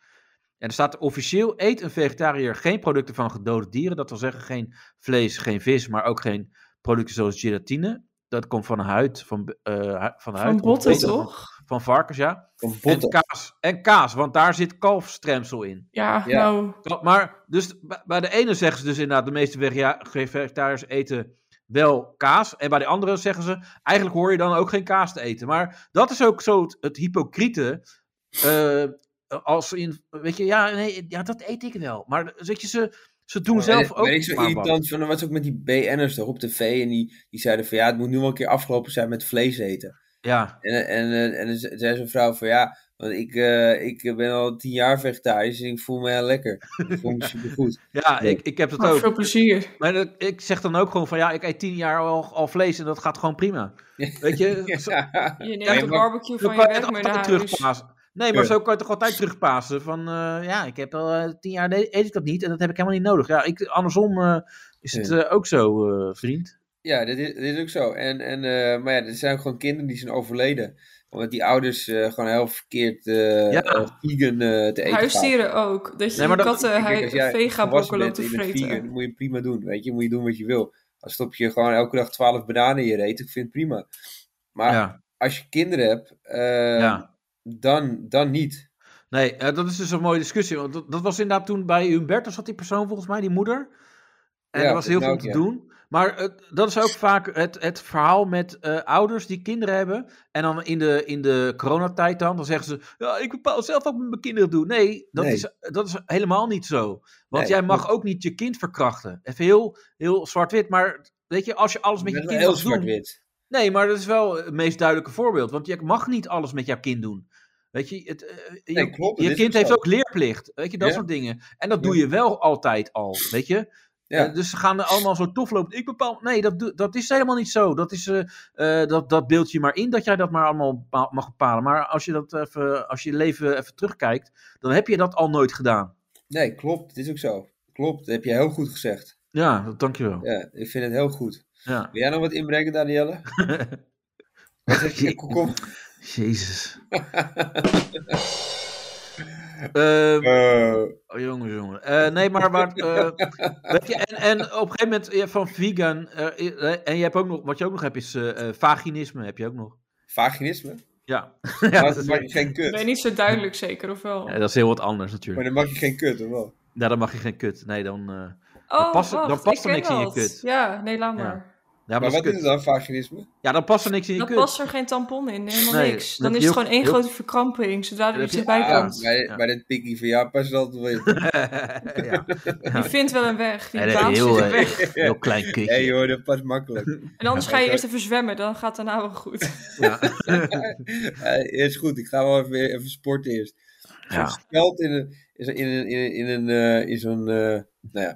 En er staat officieel, eet een vegetariër geen producten van gedode dieren. Dat wil zeggen geen vlees, geen vis, maar ook geen producten zoals gelatine. Dat komt van de huid, van, eh, hu- van de huid. Van botten, van- toch? Van varkens, ja. Van En botten. kaas, en kaas, want daar zit kalfstremsel in. Ja, Ja. nou, Maar dus, b- bij de ene zeggen ze dus inderdaad, de meeste vega- vegetariërs eten wel kaas. En bij de anderen zeggen ze, eigenlijk hoor je dan ook geen kaas te eten. Maar dat is ook zo het, het hypocriete. eh, als in, weet je, ja, nee, ja, dat eet ik wel. Maar weet je, ze, ze doen zelf ook... Weet ik zo maar wat. irritant van, dat was ook met die BN'ers toch op tv. En die, die zeiden van, ja, het moet nu wel een keer afgelopen zijn met vlees eten. Ja, En, en, eh, en dan ze- zei zo'n vrouw van ja, want ik, eh, ik ben al tien jaar vegetarisch en ik voel me heel lekker. Ik voel me supergoed. ja ik, ik heb dat Maar ook. nou, veel plezier. Maar dat- ik zeg dan ook gewoon van ja, ik eet tien jaar al, al vlees en dat gaat gewoon prima. Weet je, zo, Ja. Je maar- neemt de barbecue zo van kan je je toch werk mee naar altijd huis. terugpasen. Nee, maar Ja. zo kan je toch altijd terugpasen van eh, ja, ik heb al eh, tien jaar nee, eet ik dat niet en dat heb ik helemaal niet nodig. Ja, ik, andersom eh, is het Ja. eh, ook zo, eh, vriend. Ja, dit is, dit is ook zo. En, en, eh, maar ja, er zijn ook gewoon kinderen die zijn overleden. Omdat die ouders eh, gewoon heel verkeerd eh, Ja. eh, vegan eh, te eten Huisdieren ook. Dat je Nee, maar je dat- gaven. katten Kijk, eh, hij, als jij vega volwassen brokken loopt te bent en je bent vreten. vegan, dan moet je prima doen. Weet je, moet je doen wat je wil. Dan stop je gewoon elke dag twaalf bananen in je reet. Ik vind het prima. Maar ja, als je kinderen hebt, eh, ja. dan, dan niet. Nee, eh, dat is dus een mooie discussie. Want dat, dat was inderdaad toen bij Humbertus zat die persoon volgens mij, die moeder. En Ja, er was heel veel volgens te mij doen. Maar eh, dat is ook vaak het, het verhaal met eh, ouders die kinderen hebben. En dan in de, in de coronatijd dan, dan zeggen ze... Ja, ik bepaal zelf wat mijn kinderen doen. Nee, dat, Nee. Is, dat is helemaal niet zo. Want Nee, jij mag ook niet je kind verkrachten. Even heel, heel zwart-wit. Maar weet je, als je alles met je Dat is kind heel mag doen... zwart-wit. Nee, maar dat is wel het meest duidelijke voorbeeld. Want je mag niet alles met jouw kind doen. Weet je, het, eh, je, Nee, klopt, je dit is kind zo. heeft ook leerplicht. Weet je, dat Ja. soort dingen. En dat doe je wel altijd al, weet je. Ja. Eh, dus ze gaan er allemaal zo tof lopen. Ik bepaal... Nee, dat, doe- dat is helemaal niet zo. Dat, is, eh, eh, dat, dat beeld je maar in dat jij dat maar allemaal bepa- mag bepalen. Maar als je, dat even, als je leven even terugkijkt, dan heb je dat al nooit gedaan. Nee, klopt. Het is ook zo. Klopt. Dat heb je heel goed gezegd. Ja, dat- dankjewel. Ja. Ja, ik vind het heel goed. ja. Wil jij nog wat inbrengen, Danielle? Wat zeg je? Kom, kom. Jezus. Ehm, Eh, Oh, jongen, jongen. Eh, nee, maar. maar eh, weet je, en, en op een gegeven moment ja, van vegan. eh, en je hebt ook nog, wat je ook nog hebt is eh, eh, vaginisme. Heb je ook nog? vaginisme? Ja. Ja, ja, maar dat dan is, maak je geen Ik weet kut. niet zo duidelijk zeker, of wel? ja, dat is heel wat anders Maar natuurlijk. dan maak je geen kut, of wel? Ja, dan mag je geen kut. Nee, dan. eh, Oh, past- wacht, dan past ik er ken niks in je dat. kut. Ja, nee, laat Ja. maar. ja, maar, Maar dat is wat is kut. het dan, vaginisme? Ja, dan past er niks in je Dan kut. past er geen tampon in, helemaal Nee, niks. dat Dan is heel- het gewoon één heel- grote verkramping, zodra er Dat iets heb je- bij Ja, komt. bij, bij dat pikkie van jou past dat wel in. ja. Die vindt wel een weg, die Nee, dat is baant heel, zich eh, weg. heel klein kutje. Nee joh, dat past makkelijk. En anders Ja. ga je eerst even zwemmen, dan gaat het daarna wel goed. ja. Eh, is goed, ik ga wel even, even sporten eerst. Ja, Geld in een, in een, in een, in een, in een, eh, in zo'n, eh, nou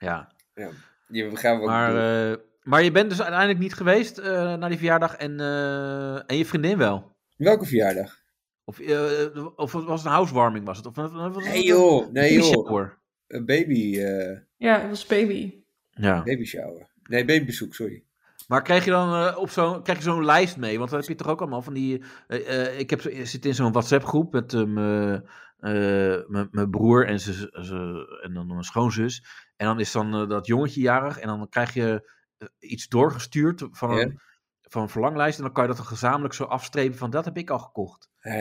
ja, ja. je begrijpt wat ik Maar, bedoel. eh, maar je bent dus uiteindelijk niet geweest eh, naar die verjaardag. En, eh, en je vriendin wel. Welke verjaardag? Of, eh, of het was een housewarming was het? Of, of- of- Nee joh, nee Baby joh. shower. Een baby, eh Ja, dat was baby. Ja. baby shower. Nee, babybezoek, sorry. Maar krijg je dan eh, op zo'n krijg je zo'n lijst mee? Want dan heb je toch ook allemaal van die. eh, eh, ik heb, zo- zit in zo'n WhatsApp-groep met eh, mijn eh, mijn- mijn broer en, ze, ze, en dan mijn schoonzus. En dan is dan eh, dat jongetje jarig. En dan krijg je eh, iets doorgestuurd van een, van een verlanglijst. En dan kan je dat dan gezamenlijk zo afstrepen van dat heb ik al gekocht. Eh,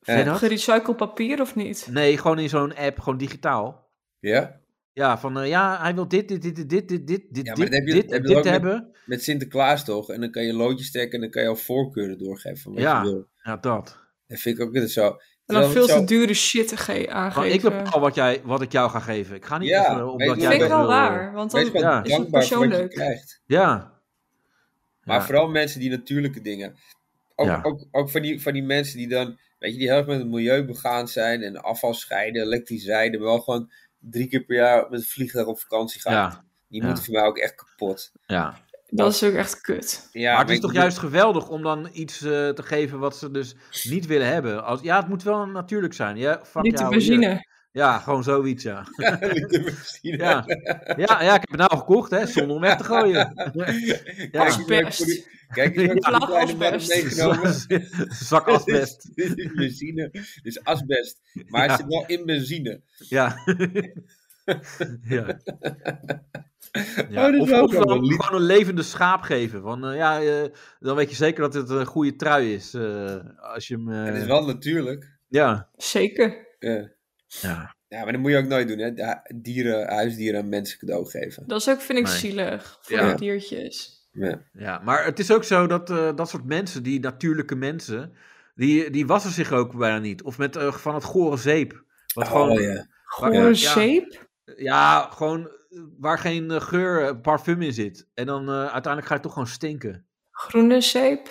Ken je Ja. dat? Gerecycled papier of niet? Nee, gewoon in zo'n app, gewoon digitaal. ja? Ja, van eh, ja, hij wil dit, dit, dit, dit, dit, dit, dit, dit, maar dit, dat heb je- dit, heb je dat ook met- hebben. Met Sinterklaas toch? En dan kan je loodjes trekken en dan kan je al voorkeuren doorgeven. van Wat Ja. Je wil. Ja, dat. Dat vind ik ook altijd zo. En dan Terwijl veel het zo- te dure shit te ge- Maar aangeven. ik bepaal wat, jij, wat ik jou ga geven. Ik ga niet Ja, even, weet omdat je dat jij vind ik bent dat wel wil. waar, want dan Wees gewoon Ja. is het dankbaar voor wat je persoonlijk. krijgt. Ja. Maar Ja. vooral mensen die natuurlijke dingen. Ook, Ja. ook, ook van, die, van die mensen die dan, weet je, die heel erg met het milieu begaan zijn en afval scheiden, elektrisch rijden, maar wel gewoon drie keer per jaar met een vliegtuig op vakantie gaan. Ja, Die ja. moeten voor mij ook echt kapot. ja. Dat is ook echt kut. Ja, maar het is ik toch bedoel- juist geweldig om dan iets eh, te geven wat ze dus niet willen hebben. Als, ja, het moet wel natuurlijk zijn. Ja, fuck Niet de jou, hier. benzine. Ja, gewoon zoiets, ja. Met de benzine. Ja, ja, ja ik heb het nou gekocht, hè, zonder om weg te gooien. Ja. Kijk, ik heb voor die- Kijk, ik heb Ja. voor die kleine mannen Asbest. meegenomen. Zak asbest. Dit is benzine, dit is Dus asbest. Maar Ja. het zit wel in benzine. Ja. ja. Oh, dat ja. is Of, wel of zo, dan een lied. gewoon een levende schaap geven. Want eh, ja, eh, dan weet je zeker dat het een goede trui is. eh, als je hem. eh, Het is wel natuurlijk. Ja. Zeker. Ja. ja. Ja, maar dat moet je ook nooit doen, hè? De- Dieren, huisdieren aan mensen cadeau geven. Dat is ook, vind ik, Nee. zielig voor Ja. de diertjes. Ja. Ja, maar het is ook zo dat eh, dat soort mensen, die natuurlijke mensen, die, die wassen zich ook bijna niet. Of met eh, van het gore zeep. Wat gewoon, Oh, ja. Gore Ja. zeep? ja, gewoon eh, waar geen eh, geur, eh, parfum in zit. En dan eh, uiteindelijk ga je toch gewoon stinken. Groene zeep?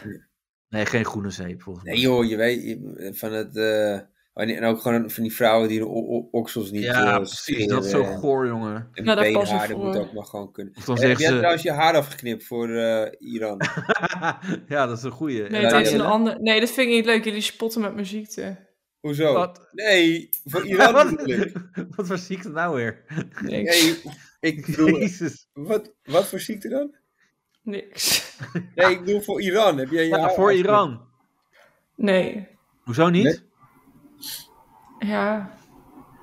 Nee, geen groene zeep volgens mij. Nee joh, je weet, je- van het... eh, en en ook gewoon van die vrouwen die de o- o- oksels niet eh, ja, precies. scheren Dat is zo en- goor, jongen. En Ja, daar pas beenhaar, ik dat voor. moet ook maar gewoon kunnen. Of dan Heb jij zeggen ze... trouwens je haar afgeknipt voor eh, Iran? ja, dat is een goeie. En Nee, Ja, dan- dat ja, is een ja. ander. Nee, dat vind ik niet leuk. Jullie spotten met mijn ziekte. Hoezo? Wat? Nee, voor Iran Wat, natuurlijk. wat voor ziekte nou weer? Niks. Nee, ik bedoel... Jezus. Wat, wat voor ziekte dan? Niks. Nee, ik bedoel voor Iran. Heb jij je Ja, haar voor afgeknipt? Iran. Nee. Hoezo niet? Nee. Ja.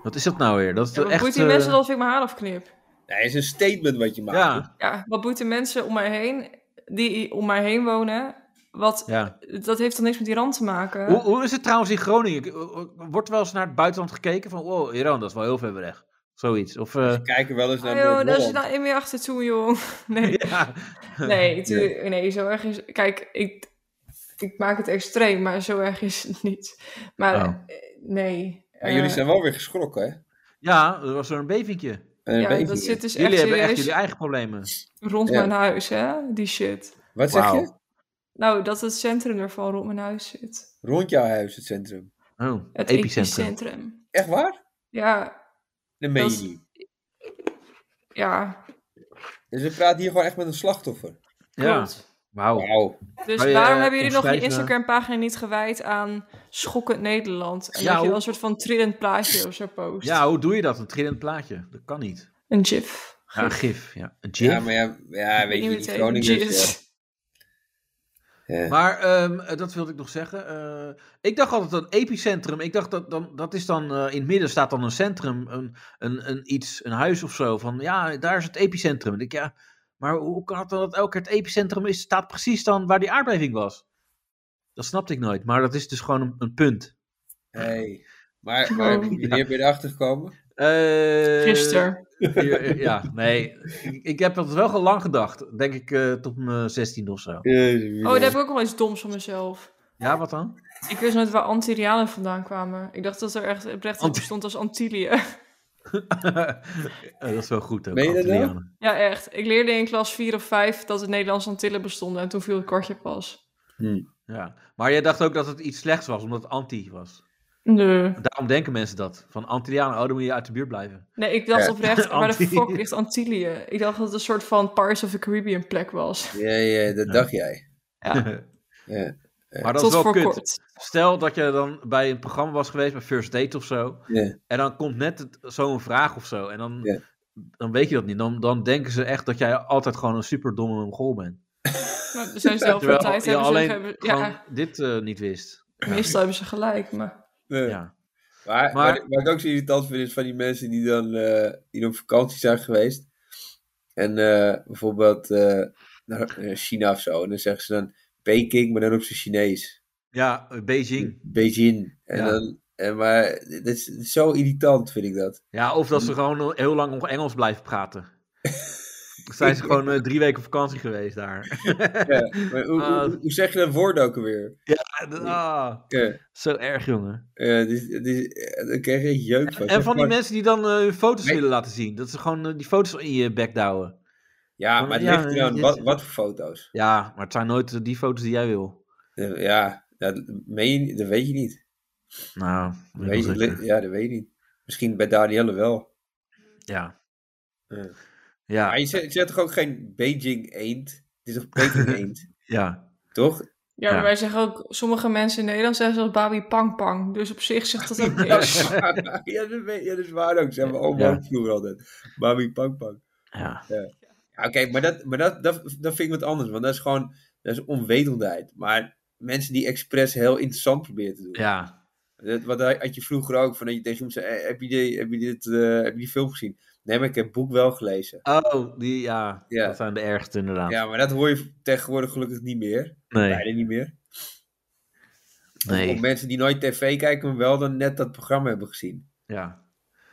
Wat is dat nou weer? Dat is Ja, wat echt... boeit die eh, mensen dat ik mijn haar afknip? Nee, het is een statement wat je maakt. Ja, Ja, wat boeit de mensen om mij heen, die om mij heen wonen, wat, ja. dat heeft dan niks met Iran te maken. Hoe, hoe is het trouwens in Groningen? eh, Wordt wel eens naar het buitenland gekeken van... Wow, Iran, dat is wel heel ver weg. Zoiets. Of... eh, We kijken wel eens naar Ah, joh, daar Noord-Holland. zit nou in meer achter toe, jong. Nee, ja. nee, tuurlijk- nee, zo erg is... Kijk, ik, ik maak het extreem, maar zo erg is het niet. Maar Oh. eh, nee. Maar jullie eh, zijn wel weer geschrokken, hè? ja, er was er een bevinkje. Een ja, beetje. dat zit dus Jullie echt hebben echt serieus jullie eigen problemen. rond Ja. mijn huis, hè? Die shit. Wat zeg Wauw. je? Nou, dat het centrum ervan rond mijn huis zit. Rond jouw huis, het centrum. Oh, Het epicentrum. epicentrum. Echt waar? Ja, Dat meen Dat je is- niet. ja, Dus we praten hier gewoon echt met een slachtoffer. Ja, klopt. wauw. Wauw. Dus Maar je, waarom eh, hebben jullie nog je omschrijven- Instagram-pagina niet gewijd aan schokkend Nederland? En Ja, dat je hoe- wel een soort van trillend plaatje of zo post. Ja, hoe doe je dat? Een trillend plaatje. Dat kan niet. Een gif. Ja, een gif. Ja. Een gif. Ja, maar ja, ja weet je, Nieuwe die tape. Groningers... Gif. Ja. Ja. Maar ehm, eh, dat wilde ik nog zeggen. Eh, ik dacht altijd dat epicentrum. Ik dacht dat dan, dat is dan eh, in het midden staat dan een centrum, een, een, een iets, een huis of zo. Van ja, daar is het epicentrum. Ik denk, ja, maar hoe kan het dan dat elke keer het epicentrum is, staat precies dan waar die aardbeving was? Dat snapte ik nooit. Maar dat is dus gewoon een, een punt. Hey. Maar, maar Oh. wanneer ben je erachter gekomen? Eh, Gisteren. hier- eh, ja, nee. Ik, ik heb dat wel lang gedacht. Denk ik eh, tot mijn 16 of zo. Oh, daar heb ik ook wel iets doms van mezelf. Ja, wat dan? Ik wist nooit waar Antillianen vandaan kwamen. Ik dacht dat er echt oprecht Ant- op stond als Antillië. Eh, dat is wel goed. Ook, Meen je dat nou? Antillianen. Ja, echt. Ik leerde in klas 4 of 5 dat het Nederlands Antillen bestonden. En toen viel het kortje pas. Ja, maar jij dacht ook dat het iets slechts was, omdat het anti was. Nee. Daarom denken mensen dat. Van Antillianen, oh, dan moet je uit de buurt blijven. Nee, ik dacht Ja. oprecht, waar de Antillië. fuck ligt Antillië? Ik dacht dat het een soort van Pirates of the Caribbean plek was. Ja, ja, dat dacht jij. Ja, Ja. Maar dat tot is wel voor kut. kort. Stel dat je dan bij een programma was geweest, bij First Date of zo. Ja. En dan komt net het- zo'n vraag of zo. En dan, Ja. dan weet je dat niet. Dan, dan denken ze echt dat jij altijd gewoon een superdomme Mongool bent. Maar er zijn zelf Terwijl tijd je hebben ze alleen hebben, gewoon ja, dit eh, niet wist. meestal hebben ze gelijk, maar Ja. Ja. Maar, Maar- wat, ik- wat ik ook zo irritant vind, is van die mensen die dan, eh, die dan op vakantie zijn geweest. En eh, bijvoorbeeld eh, naar eh, China of zo. En dan zeggen ze dan Peking, maar dan op zijn Chinees. Ja, eh, Hm. Beijing. Beijing. En Ja. dan, en, maar dat is zo irritant, vind ik dat. Ja, of dat Mm. ze gewoon heel lang nog Engels blijven praten. Dan zijn ze gewoon eh, drie weken op vakantie geweest daar. Maar hoe, Ah. hoe, hoe zeg je dat woord ook alweer? Ah, Eh, zo erg, jongen. eh, dus, dus, eh, daar krijg je echt jeuk van. En Zeg van die maar- mensen die dan eh, hun foto's Nee. willen laten zien. Dat ze gewoon eh, die foto's in je bek douwen. Ja, maar het Ja, ligt er aan dit- wat, wat voor foto's. Ja, maar het zijn nooit eh, die foto's die jij wil. Eh, ja, dat, meen je- dat weet je niet. Nou, Dat weet weet ik wel je, zeker. ja, dat weet je niet. Misschien bij Danielle wel. Ja. Ja. Ja, Maar je zet, je zet toch ook geen Beijing eend? Het is toch Peking eend? ja. toch? ja, maar Ja. wij zeggen ook, sommige mensen in Nederland zeggen zelfs Babi Pang Pang, dus op zich zegt dat ook ja, niks. dat weet- ja, dat is waar ook. Zijn we oma Ja. ook vroeger altijd. Mami pang pang. Ja. Ja, Oké, maar, dat, maar dat, dat, dat vind ik wat anders. Want dat is gewoon dat is onwetendheid. Maar mensen die expres heel interessant proberen te doen. Ja. Dat, wat had je vroeger ook. Van dat je tegen iemand zei, eh, heb je, die, heb, je dit, eh, heb je die film gezien? Nee, maar ik heb het boek wel gelezen. Oh, die, ja. Ja. Dat zijn de ergste inderdaad. Ja, maar dat hoor je tegenwoordig gelukkig niet meer. Nee, Bijna niet meer. Of nee. mensen die nooit tv kijken, maar wel dan net dat programma hebben gezien. Ja.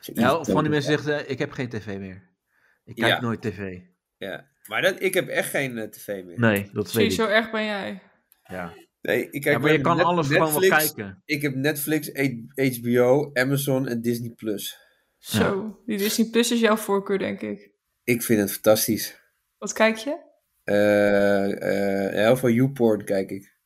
Ja, of van die mensen zegt, eh, ik heb geen tv meer. Ik kijk Ja. nooit tv. Ja. Maar dat, ik heb echt geen eh, tv meer. Nee, dat weet Precies, zo ik. erg ben jij. Ja. Nee, ik kijk Ja, maar wel je kan net- alles gewoon wel Netflix. kijken. Ik heb Netflix, HBO, Amazon en Disney+. Plus. Zo, die Disney Plus is jouw voorkeur, denk ik. Ik vind het fantastisch. Wat kijk je? Eh, eh, heel veel YouPorn kijk ik.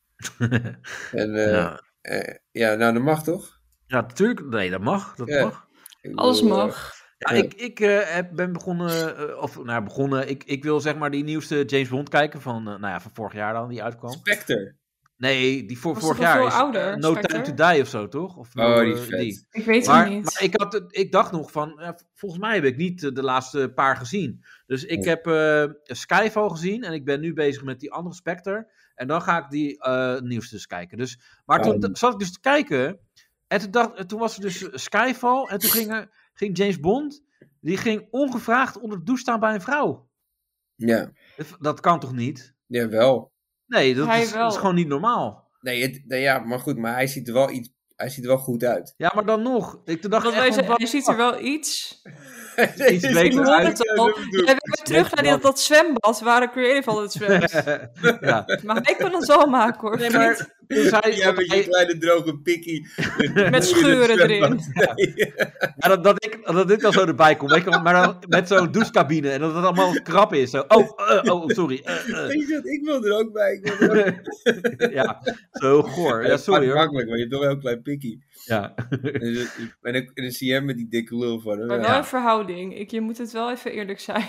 En, eh, ja. eh, ja, nou dat mag toch? ja, natuurlijk. Nee, dat mag. Dat Ja. mag. Ik Alles bedoel, eh, mag. Ja, Ja. ik, ik eh, heb- ben begonnen, eh, of nou begonnen, ik, ik wil zeg maar die nieuwste James Bond kijken van, eh, nou ja, van vorig jaar dan, die uitkwam. Spectre. Nee, die voor Was vorig toch al jaar veel is ouder, eh, No Spectre? Time to Die of zo, toch? Of Oh, no, die eh, is vet. Ik weet Maar, het niet. maar ik, had, het- ik dacht nog van, eh, volgens mij heb ik niet eh, de laatste paar gezien. Dus ik Nee. heb eh, Skyfall gezien en ik ben nu bezig met die andere Spectre. En dan ga ik die eh nieuwste dus kijken. Dus, maar toen Ehm. zat ik dus te kijken en toen, dacht, en toen was er dus Skyfall en toen ging, er- ging James Bond, die ging ongevraagd onder de douche staan bij een vrouw. Ja, Dat- Dat kan toch niet? ja wel. Nee, dat, Hij is, dat wel. is gewoon niet normaal. Nee, het- nee, ja, maar goed, maar hij ziet er wel, iets, hij ziet er wel goed uit. Ja, maar dan nog. Ik toen dacht Want echt wij van, zeggen, wat- je ziet er wel iets. Iets Ik beter hoor uit. het al. Jij bent terug naar dat, dat zwembad. We waren creative al het zwembad. ja. Maar hij kan ons wel maken hoor. Nee, maar vriend. toen zei Ja, met dat je hij- kleine droge pikkie. Met scheuren erin. Nee. ja, dat, dat, ik, dat ik dan zo erbij kom, weet je wel, maar dan met zo'n douchecabine en dat het allemaal krap is. Zo, oh, eh, oh, sorry. eh, eh. Weet je wat, ik wil er ook bij. Ik wil er ook ja, zo heel goor. Ja, sorry hoor. Makkelijk, maar je hebt toch wel een klein pikkie. Ja. En dan, en dan, en dan zie je hem met die dikke lul van hem. Maar Ja. wel een verhouding. Ik, je moet het wel even eerlijk zijn.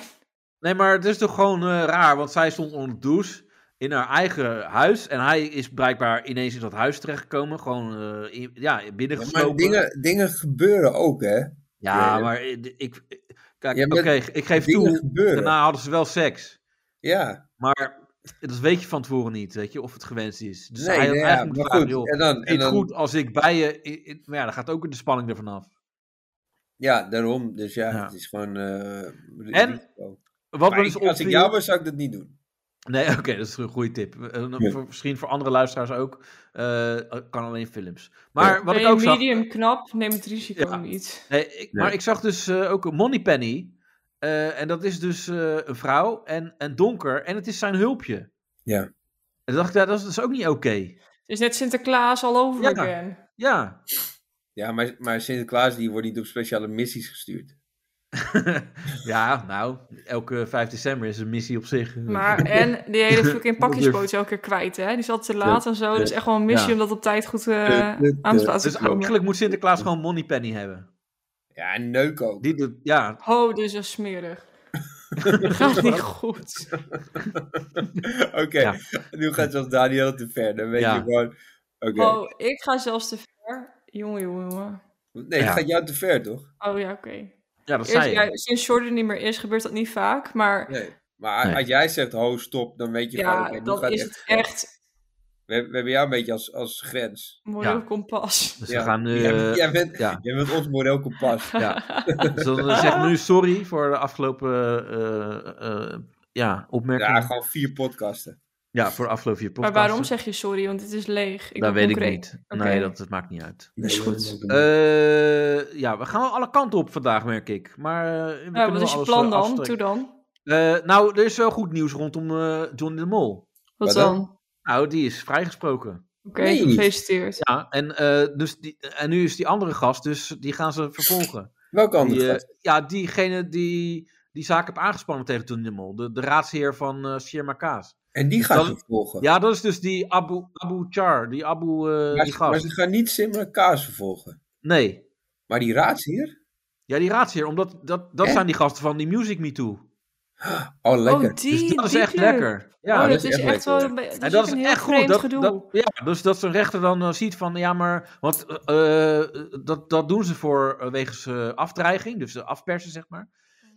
Nee, maar het is toch gewoon eh, raar, want zij stond onder de douche in haar eigen huis en hij is blijkbaar ineens in dat huis terechtgekomen, gewoon eh, in- ja, Ja, binnengeslopen. maar dingen, dingen gebeuren ook, hè? Ja, maar ik, ik- kijk, Ja, oké, maar ik geef dingen toe, gebeuren. daarna hadden ze wel seks. Ja, Maar dat weet je van tevoren niet, weet je, of het gewenst is. Dus nee, hij nee, ja, eigenlijk moet maar vragen, goed. joh, En dan, vind je en het dan, goed als ik bij je... i- i- Maar ja, dan gaat ook de spanning ervan af. ja, daarom. Dus ja, Ja. het is gewoon... eh, En- risico. Wat Maar me ik- dus als ik opviel... jou was, zou ik dat niet doen. Nee, oké, dat is een goede tip. Eh, eh, Ja. voor- misschien voor andere luisteraars ook. eh, kan alleen films. Maar wat ben ik je ook zag... medium knap, neem het risico Ja. niet. Nee, ik- Nee. Maar ik zag dus eh, ook een Moneypenny. eh en dat is dus eh, een vrouw en, en donker. En het is zijn hulpje. Ja. En dan dacht ik, ja, dat is, dat is ook niet oké. Het is net Sinterklaas al over Ja. again. Ja. Ja, maar, maar Sinterklaas die wordt niet op speciale missies gestuurd. ja, nou, elke 5 december is een missie op zich. Maar en die hele fucking Dat pakjespoot is elke keer kwijt hè. Die zat te laat en zo. Dat is echt wel een missie Ja. om dat op tijd goed eh, Ja. aan te laten dus komen. eigenlijk moet Sinterklaas gewoon Moneypenny hebben. Ja, en neuk ook. Die doet, ja, Oh, dit is wel smerig. Dat gaat niet goed. Oké, Ja. nu gaat zelfs Daniel te ver. Dan weet Ja. je gewoon... Oké. Oh, ik ga zelfs te ver. Jongen, jongen, jongen. Nee, het Ja. gaat jou te ver, toch? Oh ja, oké. ja dat Eerst- zei ja, je. Sinds Jordan niet meer is, gebeurt dat niet vaak. Maar Nee. Maar Nee. als jij zegt, ho, stop, dan weet je gewoon... ja, oké, nu dat gaat is echt het ver. echt We, we hebben jou een beetje als, als grens. moreel Ja. kompas. Dus Ja. we gaan nu... jij, eh, jij bent, ja. jij bent ons moreel kompas. ja. Dus dan eh, zeg ik nu sorry voor de afgelopen eh, eh, ja, opmerkingen. Ja, Ja, gewoon vier podcasten. voor de afgelopen vier Maar podcasts. waarom zeg je sorry? Want het is leeg. Ik Dat ben weet ik concreet. niet. Oké. Nee, dat, dat maakt niet uit. Is goed. Eh, ja, we gaan wel alle kanten op vandaag, merk ik. Maar eh, we kunnen Nou, wat wel is je alles, plan eh, dan? afstrepen. Toe dan. Eh, nou, er is wel goed nieuws rondom eh, Johnny de Mol. Wat Wat dan? dan? Oké, Nou, die is vrijgesproken. Nee. gefeliciteerd. Ja, en, eh, dus die, en nu is die andere gast, dus die gaan ze vervolgen. Welke andere Die, eh, gast? ja, diegene die die zaak heeft aangespannen tegen Johnny de Mol. De, de raadsheer van eh Sherma Kaas. En die gaat dat- ze volgen. Ja, dat is dus die Abu, Abu Char, die Abu, eh, maar, die ze, maar gast. ze gaan niet Simra Kaas vervolgen. Nee, Maar die raadsheer? ja, die raadsheer, omdat dat, dat Hè? zijn die gasten van die Music Me Too. Oh, lekker. Oh, die, dus dat is die echt club. lekker. Ja, oh, dat, dat is is echt echt wel lekker. een be- dat En is ook een heel vreemd dat- gedoe. dat- ja, dus dat zo'n rechter dan eh, ziet van, ja, maar, want eh, eh, dat, dat doen ze voor eh, wegens eh, afdreiging, dus eh, afpersen, zeg maar. Mhm.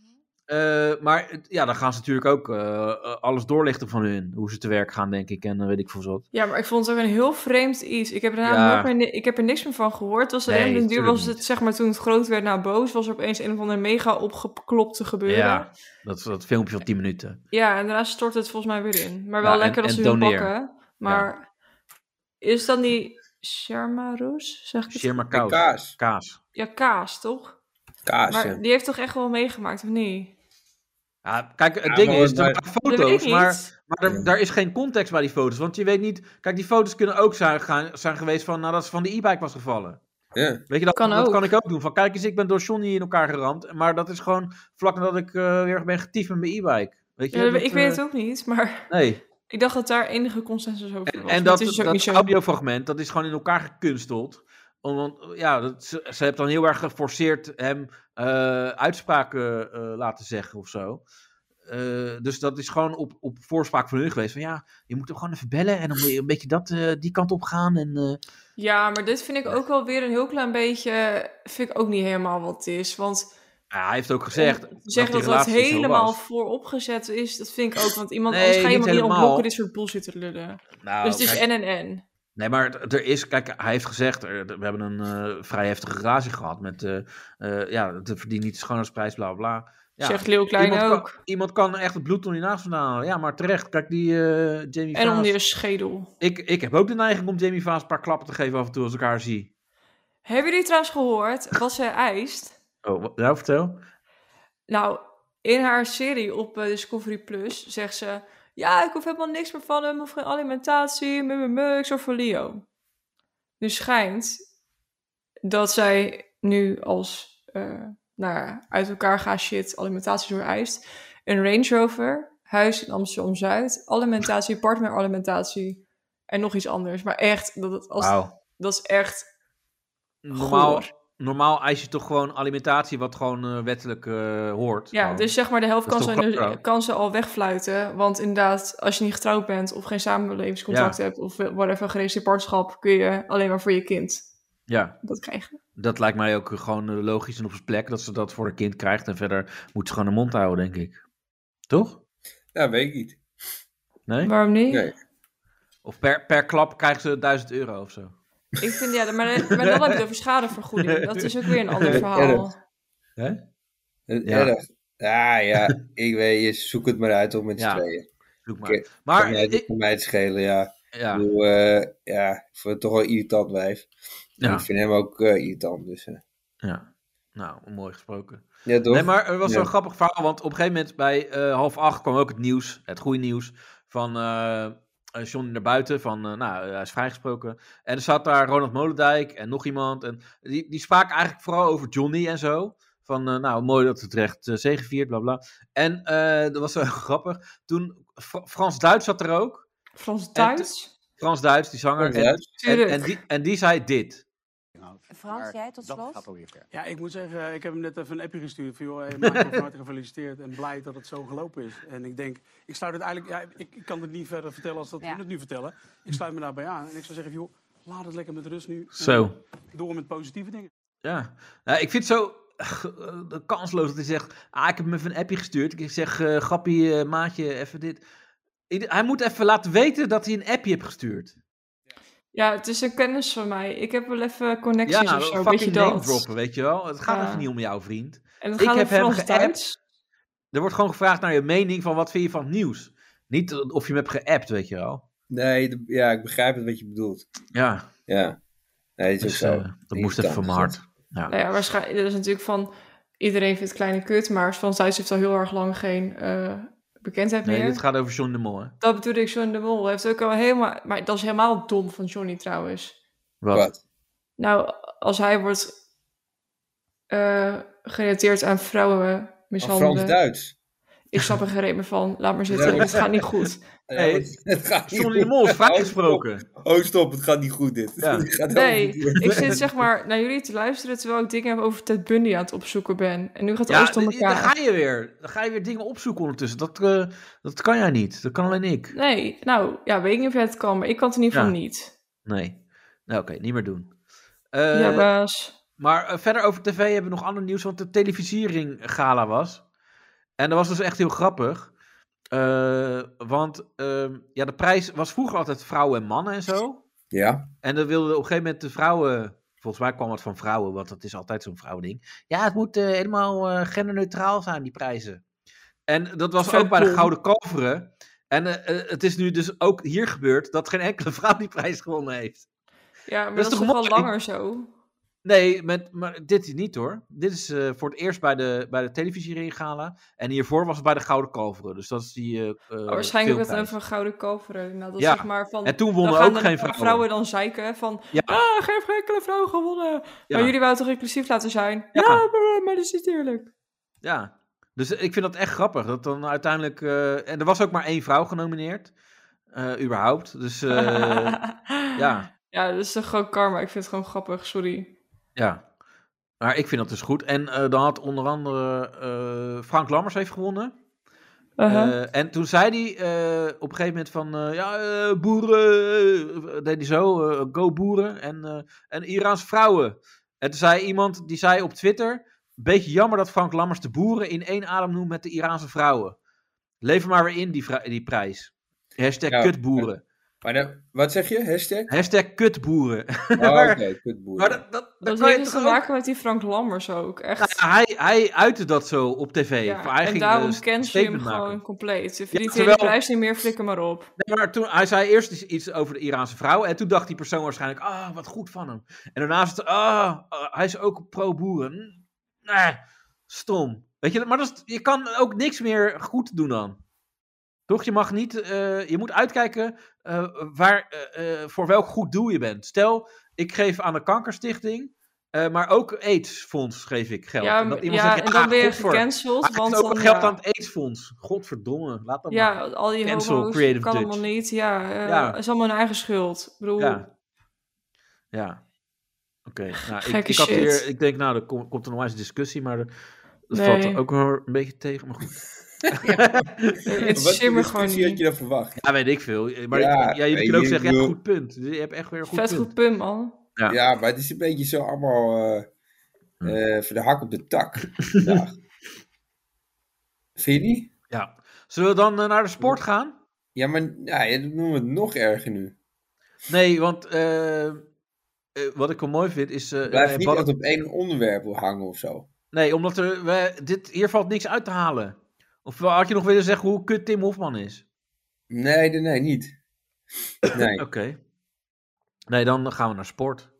Eh, maar het- ja, dan gaan ze natuurlijk ook eh, eh, alles doorlichten van hun, hoe ze te werk gaan, denk ik, en eh, weet ik veel wat. Ja, maar ik vond het ook een heel vreemd iets. Ik heb, daarna Ja. nooit meer ni- ik heb er niks meer van gehoord. Het Was Nee, nee, duur tuurlijk was het, niet. zeg maar, toen het groot werd naar boos, was er opeens een of ander mega opgeklopte gebeuren. Ja, Ja, dat, dat filmpje van 10 minuten. en daarna stort het volgens mij weer in. Maar wel Ja, en- lekker dat en ze hun doneer. pakken. Maar is dan die Sharma Roos? Zeg ik het? Sherma En Kaas. Kaas. Kaas. Ja, kaas, toch? Kaas, ja. Maar die heeft toch echt wel meegemaakt, of niet? Ja, kijk, het Ja, ding maar- is, er maar- waren Dat weet foto's, ik maar, niet. maar er, Ja. daar is geen context bij die foto's. Want je weet niet... Kijk, die foto's kunnen ook zijn, gaan, zijn geweest van nadat ze van de e-bike was gevallen. Ja. Weet je, dat Kan dat ook. kan ik ook doen. Van kijk eens, ik ben door Johnny in elkaar geramd. Maar dat is gewoon vlak nadat ik eh, weer ben getiefd met mijn e-bike. Weet je, Ja, dat- dat, ik weet eh, het ook niet, maar Nee. ik dacht dat daar enige consensus over was. En maar dat, het is dus ook dat niet zo. audiofragment, dat is gewoon in elkaar gekunsteld. Om- Want ja, dat, ze, ze heeft dan heel erg geforceerd hem eh, uitspraken eh, laten zeggen of zo. Eh, dus dat is gewoon op, op voorspraak van hun geweest. Van ja, je moet hem gewoon even bellen en dan moet je een beetje dat, eh, die kant op gaan. En, eh, Ja, maar dit vind ik ook wel weer een heel klein beetje. Vind ik ook niet helemaal wat het is. Want ja, hij heeft ook gezegd. om te zeggen die dat dat relatie zo helemaal was. vooropgezet is, dat vind ik ook. Want iemand Nee, anders ga je niet iemand niet helemaal. ontblokken dit soort bullshit te lullen. Nou, dus het is kijk, en en en. Nee, maar het- er is, kijk, hij heeft gezegd, er- we hebben een eh, vrij heftige relatie gehad met, eh eh ja, het verdient niet de schoonheidsprijs, bla bla. bla. Ja, Zegt Leeuw Klein iemand ook. Kan, iemand kan echt het bloed door die naast vandaan halen. Ja, maar terecht. Kijk, die eh, Jamie En om Vaas. die schedel. Ik, ik heb ook de neiging om Jamie Vaas een paar klappen te geven af en toe als ik haar zie. Hebben jullie trouwens gehoord wat zij eist? Oh, wat- nou vertel. Nou, in haar serie op eh, Discovery Plus zegt ze... Ja, ik hoef helemaal niks meer van hem, of geen alimentatie, me, me, me, ik zorg voor Leo. Nu schijnt dat zij nu als eh nou, ja, uit elkaar gaan shit alimentatie door eist. Een Range Rover, huis in Amsterdam-Zuid, alimentatie, partneralimentatie en nog iets anders. Maar echt, dat, dat, als, Wauw. dat is echt Normaal, goor. normaal eis je toch gewoon alimentatie wat gewoon eh, wettelijk eh, hoort. Ja, Gewoon. dus zeg maar de helft Dat kan is ze, toch in de- knap, kan ze al wegfluiten. Want inderdaad, als je niet getrouwd bent of geen samenlevingscontact hebt of whatever, geregistreerd partnerschap, kun je alleen maar voor je kind Ja, dat krijgen. dat lijkt mij ook gewoon eh, logisch en op zijn plek dat ze dat voor een kind krijgt. En verder moet ze gewoon de mond houden, denk ik. Toch? Nou, weet ik niet. Nee? Waarom niet? Nee. Of per, per klap krijgt ze 1000 euro of zo. Ik vind, ja, maar, maar dan heb je het over schadevergoeding. Dat is ook weer een ander verhaal. Eh, Dat is Ja. Erg. Ah ja, ik weet, je zoek het maar uit om met z'n Ja. tweeën. Zoek Oké, maar. Maar, Kan mij, ik- kan mij het schelen, ja. Ik ja. bedoel, eh, ja, ik vind het toch wel een irritant wijf. Ja. Ik vind hem ook eh, irritant, dus... eh. ja. Nou, mooi gesproken. Ja, toch? Nee, maar het was Ja. zo'n grappig verhaal, want op een gegeven moment bij eh, half acht kwam ook het nieuws, het goede nieuws, van eh eh, Johnny naar buiten, van eh, nou, eh, hij is vrijgesproken. En er zat daar Ronald Molendijk en nog iemand, en die, die spraken eigenlijk vooral over Johnny en zo. Van, eh, nou, mooi dat het recht eh zegeviert, bla bla. En eh, dat was zo grappig. Toen, Fra- Frans Duits zat er ook. Frans-Duits? Frans Duits, die zanger. En, Juist. en, Tuurlijk. en, die, en die zei dit. Frans, jij tot slot? Ja, ik moet zeggen, ik heb hem net even een appje gestuurd van... joh, hey, Michael, van harte gefeliciteerd en blij dat het zo gelopen is. En ik denk, ik sluit het eigenlijk... Ja, ik, ik kan het niet verder vertellen als dat Ja. jullie het nu vertellen. Ik sluit me daarbij aan en ik zou zeggen, joh, laat het lekker met rust nu. En Zo. Door met positieve dingen. Ja, Nou, ik vind het zo eh, kansloos dat hij zegt: Ah, ik heb hem even een appje gestuurd. Ik zeg: eh, Grappie, eh, maatje, even dit. Ieder- Hij moet even laten weten dat hij een appje heeft gestuurd. Ja, het is een kennis van mij. Ik heb wel even connecties Ja, of zo, weet je fucking name dat. droppen, weet je wel. Het gaat Ja. even niet om jou, vriend. En het Ik gaat heb over hem Frans-Duits. Er wordt gewoon gevraagd naar je mening van wat vind je van het nieuws. Niet eh, of je hem hebt geappt, weet je wel. Nee, de- ja, ik begrijp het wat je bedoelt. Ja, Ja. Nee, het is dus, ook zo. eh, dat moest even van mijn hart. Ja. Nou ja, waarschijnlijk. Dat is natuurlijk van. Iedereen vindt kleine kut, maar Frans Duits heeft al heel erg lang geen eh, bekendheid Nee, meer. dit gaat over John de Mol, hè? Dat bedoelde ik, Johnny de Mol heeft ook al helemaal. Maar dat is helemaal dom van Johnny trouwens. Wat? Wat? Nou, als hij wordt eh gerelateerd aan vrouwen Maar Frans-Duits. Ik snap er geen reet meer van. Laat maar zitten. Het gaat niet goed. Hey, Ja, want het gaat niet John de goed. Mol is vrijgesproken. Oh, stop, het gaat niet goed dit. Ja. Het gaat Nee, helemaal niet goed. ik zit zeg maar naar jullie te luisteren terwijl ik dingen over Ted Bundy aan het opzoeken ben. En nu gaat Ja, alles door dan elkaar. ga je weer. Dan ga je weer dingen opzoeken ondertussen. Dat, eh, dat kan jij niet. Dat kan alleen ik. Nee, nou ja, weet ik niet of jij het kan, maar ik kan het in ieder geval Ja. niet. Nee. Nou, oké, niet meer doen. Eh, ja, baas. Maar eh, verder over tv hebben we nog ander nieuws, want de televisiering gala was. En dat was dus echt heel grappig. Eh, want ehm, ja, de prijs was vroeger altijd vrouwen en mannen en zo. Ja, En dan wilden op een gegeven moment de vrouwen. Volgens mij kwam het van vrouwen, want dat is altijd zo'n vrouwending. Ja, het moet eh, helemaal eh, genderneutraal zijn, die prijzen. En dat was Vet ook bij de dom. Gouden Kalveren. En eh, eh, het is nu dus ook hier gebeurd dat geen enkele vrouw die prijs gewonnen heeft. Ja, maar Dat dat, is is toch toch al mooi? Oh, langer zo? Nee, met, maar dit is niet hoor. Dit is eh, voor het eerst bij de, bij de televisiering gala. En hiervoor was het bij de Gouden Kalveren. Dus dat is die. eh, eh, Oh, Waarschijnlijk werd het filmprijs. even een gouden kalveren. Nou, dat Ja. is zeg maar van... En toen dan wonnen gaan ook de geen vrouwen. vrouwen dan zeiken van... Ja. Ah, geen enkele vrouw gewonnen. Ja. Maar jullie wouden toch inclusief laten zijn? Ja. Ja, maar, maar dat is niet eerlijk. Ja, dus ik vind dat echt grappig. Dat dan uiteindelijk. eh, en er was ook maar één vrouw genomineerd. eh, überhaupt. Dus eh, ja, Ja, dat is toch gewoon karma. Ik vind het gewoon grappig, sorry. ja. Maar ik vind dat dus goed. En eh, dan had onder andere eh, Frank Lammers heeft gewonnen. Uh-huh. Eh, en toen zei hij eh, op een gegeven moment van, eh, ja, eh, boeren, eh, deed hij zo, eh, go boeren en, eh en Iraanse vrouwen. En toen zei iemand, die zei op Twitter, beetje jammer dat Frank Lammers de boeren in één adem noemt met de Iraanse vrouwen. Lever maar weer in die, vrou- die prijs. Hashtag Ja. kutboeren. Maar dan- wat zeg je? Hashtag? Hashtag kutboeren. Oh, Maar- oké, kutboer. Maar dat, dat, dat dat kan je heeft toch te ook... maken met die Frank Lammers ook, echt. Ja, hij, hij uitte dat zo op tv. Ja, Of hij en ging, daarom eh, kent je hem statement maken. gewoon compleet. Je verdient terwijl- de prijs niet meer, flikker maar op. Nee, maar toen, hij zei eerst iets- iets over de Iraanse vrouw. En toen dacht die persoon waarschijnlijk, ah, wat goed van hem. En daarna is het, ah, ah, hij is ook pro-boeren. Hm, Nee, stom. Weet je, maar dat is, je kan ook niks meer goed doen dan. Toch? Je mag niet, eh, je moet uitkijken eh, waar, eh, eh, voor welk goed doel je bent. Stel, ik geef aan de kankerstichting, eh, maar ook aidsfonds geef ik geld. ja, en dat maar- iemand ja, zegt, en dan ah, ben je godver, gecanceld. hij Want geeft ook dan, geld ja. aan het aidsfonds. Godverdomme, laat dat maar. Ja, al die Cancel homo's Creative kan Dutch. allemaal niet. Ja, eh, Ja. is allemaal hun eigen schuld. Ik bedoel, Ja. Ja. Oké. Nou, ik, Gekke ik, had shit. hier, ik denk, nou, er kom- komt er nog eens een discussie, maar er- dat Nee. valt er ook wel een beetje tegen. Maar goed, het Wat interesseert voor me gewoon discussie had je niet. dan verwacht? ja, weet ik veel. Eh, Maar Ja, ik- ja, je weet kunt ook je, zeggen, ik je hebt bedoel- een goed punt. Je hebt echt weer een goed Vet punt. goed punt, man. Ja. Ja. maar het is een beetje zo allemaal eh Hm. eh, van de hak op de tak. vandaag. Vind je niet? Ja. Zullen we dan eh, naar de sport gaan? Ja, maar ja, je noemt het nog erger Eh, nu. Nee, want eh, eh, wat ik wel mooi vind is... eh, Blijf eh, niet Bad- altijd op één onderwerp hangen of zo. Nee, omdat er, we, dit, hier valt niks uit te halen. Of had je nog willen zeggen hoe kut Tim Hofman is? Nee, nee, nee, niet. Nee. Oké. Nee, dan gaan we naar sport.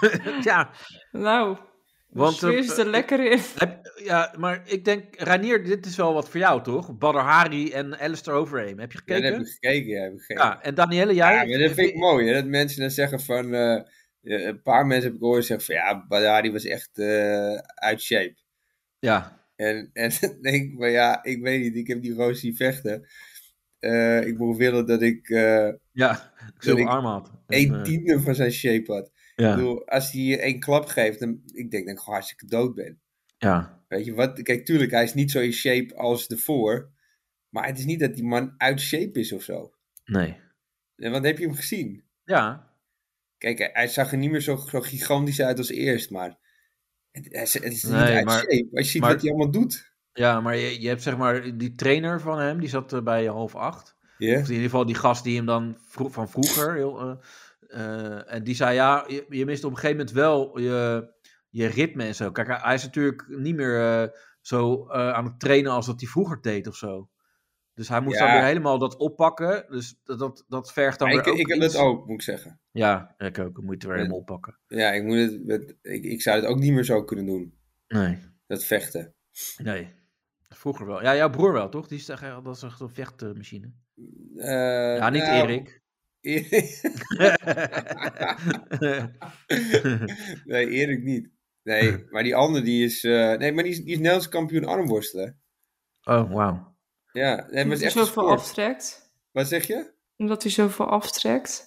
ja, Nou, Want, Want, sfeer eh, is er lekker in. Heb- ja, maar ik denk, Ranier, dit is wel wat voor jou, toch? Badr Hari en Alistair Overeem. Heb je Ja, dat gekeken? heb ik gekeken. Ja, heb ik gekeken. Ja, en Danielle, Ja, jij? maar dat vind ik mooi. Hè? Dat mensen dan zeggen van... eh, eh, een paar mensen heb ik gehoord zeggen van... Ja, Badari was echt eh, uit shape. Ja, En, en dan denk ik van... Ja, ik weet niet. Ik heb die roos zien vechten. Eh, ik moet willen dat ik eh ja. Ik zul ik arm had. En, een eh, tiende van zijn shape had. Ik ja, bedoel, als hij hier één klap geeft... Dan, ik denk dat ik gewoon hartstikke dood ben. ja, Weet je wat? Kijk, tuurlijk, hij is niet zo in shape als ervoor. Maar het is niet dat die man uit shape is of zo. nee. Eh, Want heb je hem gezien? Ja, Kijk, hij- hij zag er niet meer zo, zo gigantisch uit als eerst, maar het, hij is- het is niet Nee, uit maar- shape. Als je ziet maar- wat hij allemaal doet. ja maar je, je hebt zeg maar die trainer van hem, die zat eh, bij half acht. Ja, Of in ieder geval die gast die hem dan vro- van vroeger. Heel, eh, eh, en die zei: Ja, je, je mist op een gegeven moment wel je, je ritme en zo. Kijk, hij, hij is natuurlijk niet meer eh, zo eh, aan het trainen als dat hij vroeger deed of zo. Dus hij moest Ja. dan weer helemaal dat oppakken. Dus dat, dat, dat vergt dan Maar weer ik, ook ik heb iets. dat ook, moet ik zeggen. Ja, ik ook. Ik moet het weer helemaal oppakken. Ja, ik, moet het, met- ik, ik zou het ook niet meer zo kunnen doen, Nee, dat vechten. nee. Vroeger wel. Ja, jouw broer wel, toch? Die is echt, dat is echt een vechtmachine. Eh, Ja, niet nou, Erik. nee, Erik niet. Nee, maar die andere die is... eh, nee, maar die is, die is Nederlands kampioen armworstelen. oh, wauw. Ja, nee, maar Omdat het is hij echt een zoveel sport. aftrekt. Wat zeg je? Omdat hij zoveel aftrekt.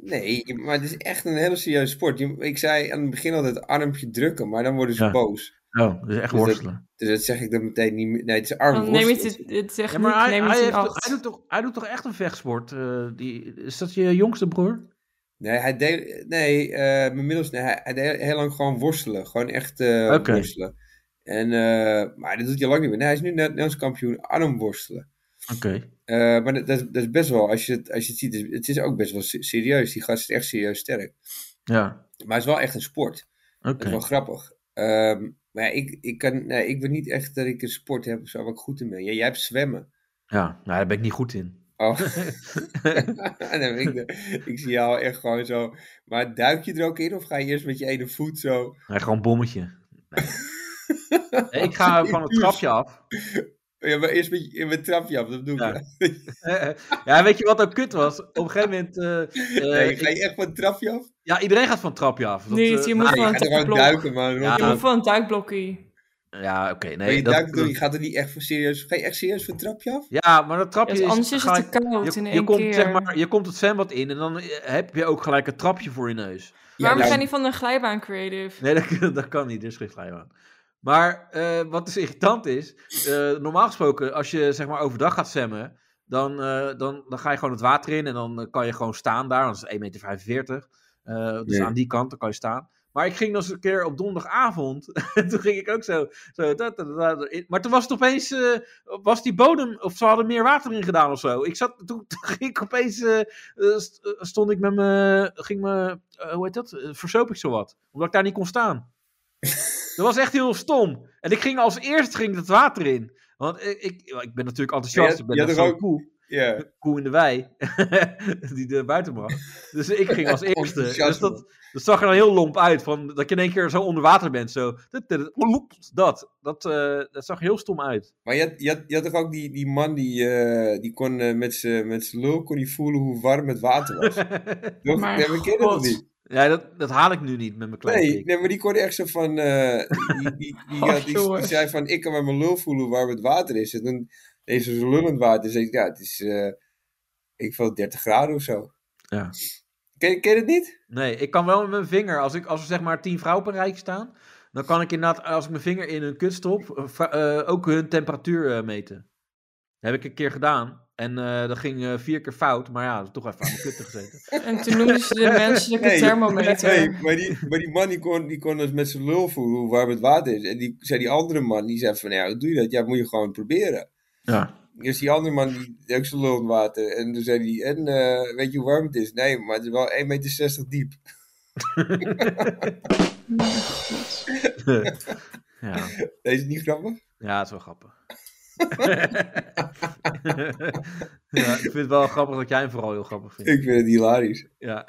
Nee, maar het is echt een hele serieuze sport. Je- Ik zei aan het begin altijd armpje drukken, maar dan worden ze Ja. boos. Oh, dus echt Dus dat- worstelen. Dus dat zeg ik dan meteen niet meer. Oh, Nee, het is arm Dan neem je worstelen. het, het techniek, Ja, maar hij, neem je hij, het in heeft, acht. hij, doet toch, hij doet toch echt een vechtsport? eh, die, is dat je jongste broer? Nee, hij deed, nee, eh, inmiddels, nee, hij, hij deed heel lang gewoon worstelen. Gewoon echt eh, Oké. worstelen. En, eh, maar dat doet hij lang niet meer. Nee, hij is nu net Nederlands kampioen armworstelen. Oké. Eh, maar dat, dat, is- dat is best wel, als je het, als je het ziet, is- het is ook best wel se- serieus. Die gast is echt serieus sterk. Ja, Maar het is wel echt een sport. oké. Dat is wel grappig. Ehm, maar ja, ik, ik, kan, nee, ik ben niet echt dat ik een sport heb of zo, waar ik goed in ben. Ja, jij hebt zwemmen. Ja, nou, daar ben ik niet goed in. Oh. En dan ben ik, de- ik zie jou echt gewoon zo. Maar duik je er ook in of ga je eerst met je ene voet zo? Nee, gewoon bommetje. Nee. Nee, ik ga van het trapje af. Ja, maar eerst met, je- met trapje af, dat doen we. Ja. ja, weet je wat ook kut was? Op een gegeven moment... eh, eh, Nee, ik- ga je echt van het trapje af? ja, iedereen gaat van het trapje af. Dat, Niet, eh, dus je moet Je gewoon gaat er een gewoon blok. duiken, man. Ja, Je moet gewoon een duikblokkie. Ja, oké. Maar nee, je, dat- duikt er- je gaat er niet echt voor serieus. Ga je echt serieus van het trapje af? ja, maar dat Ja, dus trapje is... anders is ga het te je- koud je, in je één komt, keer. Zeg maar, je komt het zwembad in en dan eh, heb je ook gelijk een trapje voor je neus. Waarom nou, zijn die van de glijbaan creative? Nee, dat, dat kan niet. Er is geen glijbaan. Maar eh, wat dus irritant is, eh, normaal gesproken, als je zeg maar overdag gaat zwemmen, dan, eh, dan, dan ga je gewoon het water in en dan eh, kan je gewoon staan daar. Dan is het 1,45 meter. Eh, dus Ja. aan die kant, dan kan je staan. Maar ik ging nog eens een keer op donderdagavond. en toen ging ik ook zo. zo da, da, da, da, in. Maar toen was het opeens. eh, was die bodem. Of ze hadden meer water in gedaan of zo. Ik zat, toen, toen ging ik opeens. eh, eh, st- eh, stond ik met me. Ging me. eh, hoe heet dat? Eh, verzoop ik zo wat. Omdat ik daar niet kon staan. dat was echt heel stom. En ik ging als eerst ging het water in. Want ik, ik, ik ben natuurlijk enthousiast. je ik ben had net toch zo'n ook- koe Ja. koe in de wei die er buiten mag. Dus ik ging als eerste. Dus Enthousiasme. dat, dat zag er dan heel lomp uit. Van, dat je in één keer zo onder water bent. Zo. tut, tut, ploep, Dat, dat, eh, dat zag er heel stom uit. Maar je had, je, had, je had toch ook die, die man die, eh, die kon eh, met zijn met zijn lul kon die voelen hoe warm het water was. Toch? Mijn Nee, maar ken je dat God. niet? Ja, dat, dat haal ik nu niet met mijn kleine Nee, pik. nee, maar die kon echt zo van. eh, die, die, die, Oh, had- die- die jongens. zei van: Ik kan met mijn lul voelen waar het water is. En dan deze zo lullend water. Zei, ik, ja, het is. eh, ik vond 30 graden of zo. Ja. Ken, ken je het niet? Nee, ik kan wel met mijn vinger. Als, ik, als er zeg maar tien vrouwen per rij staan. Dan kan ik inderdaad, als ik mijn vinger in hun kut stop, eh, vra- eh, ook hun temperatuur eh, meten. Dat heb ik een keer gedaan. En eh, dat ging eh, vier keer fout. Maar ja, dat is toch even aan mijn kutten gezeten. En toen noemden ze de menselijke thermometer. Nee, maar die, maar die man die kon, die kon dus met zijn lul voelen hoe warm het water is. En die zei die andere man, die zei van, ja, hoe doe je dat? Ja, moet je gewoon proberen. Ja. Dus die andere man, die deed ook zijn lul in het water. En toen zei hij, en eh, weet je hoe warm het is? Nee, maar het is wel 1,60 meter diep. ja. Deze is niet grappig? Ja, het is wel grappig. ja, ik vind het wel grappig dat jij hem vooral heel grappig vindt. Ik vind het hilarisch. Ja.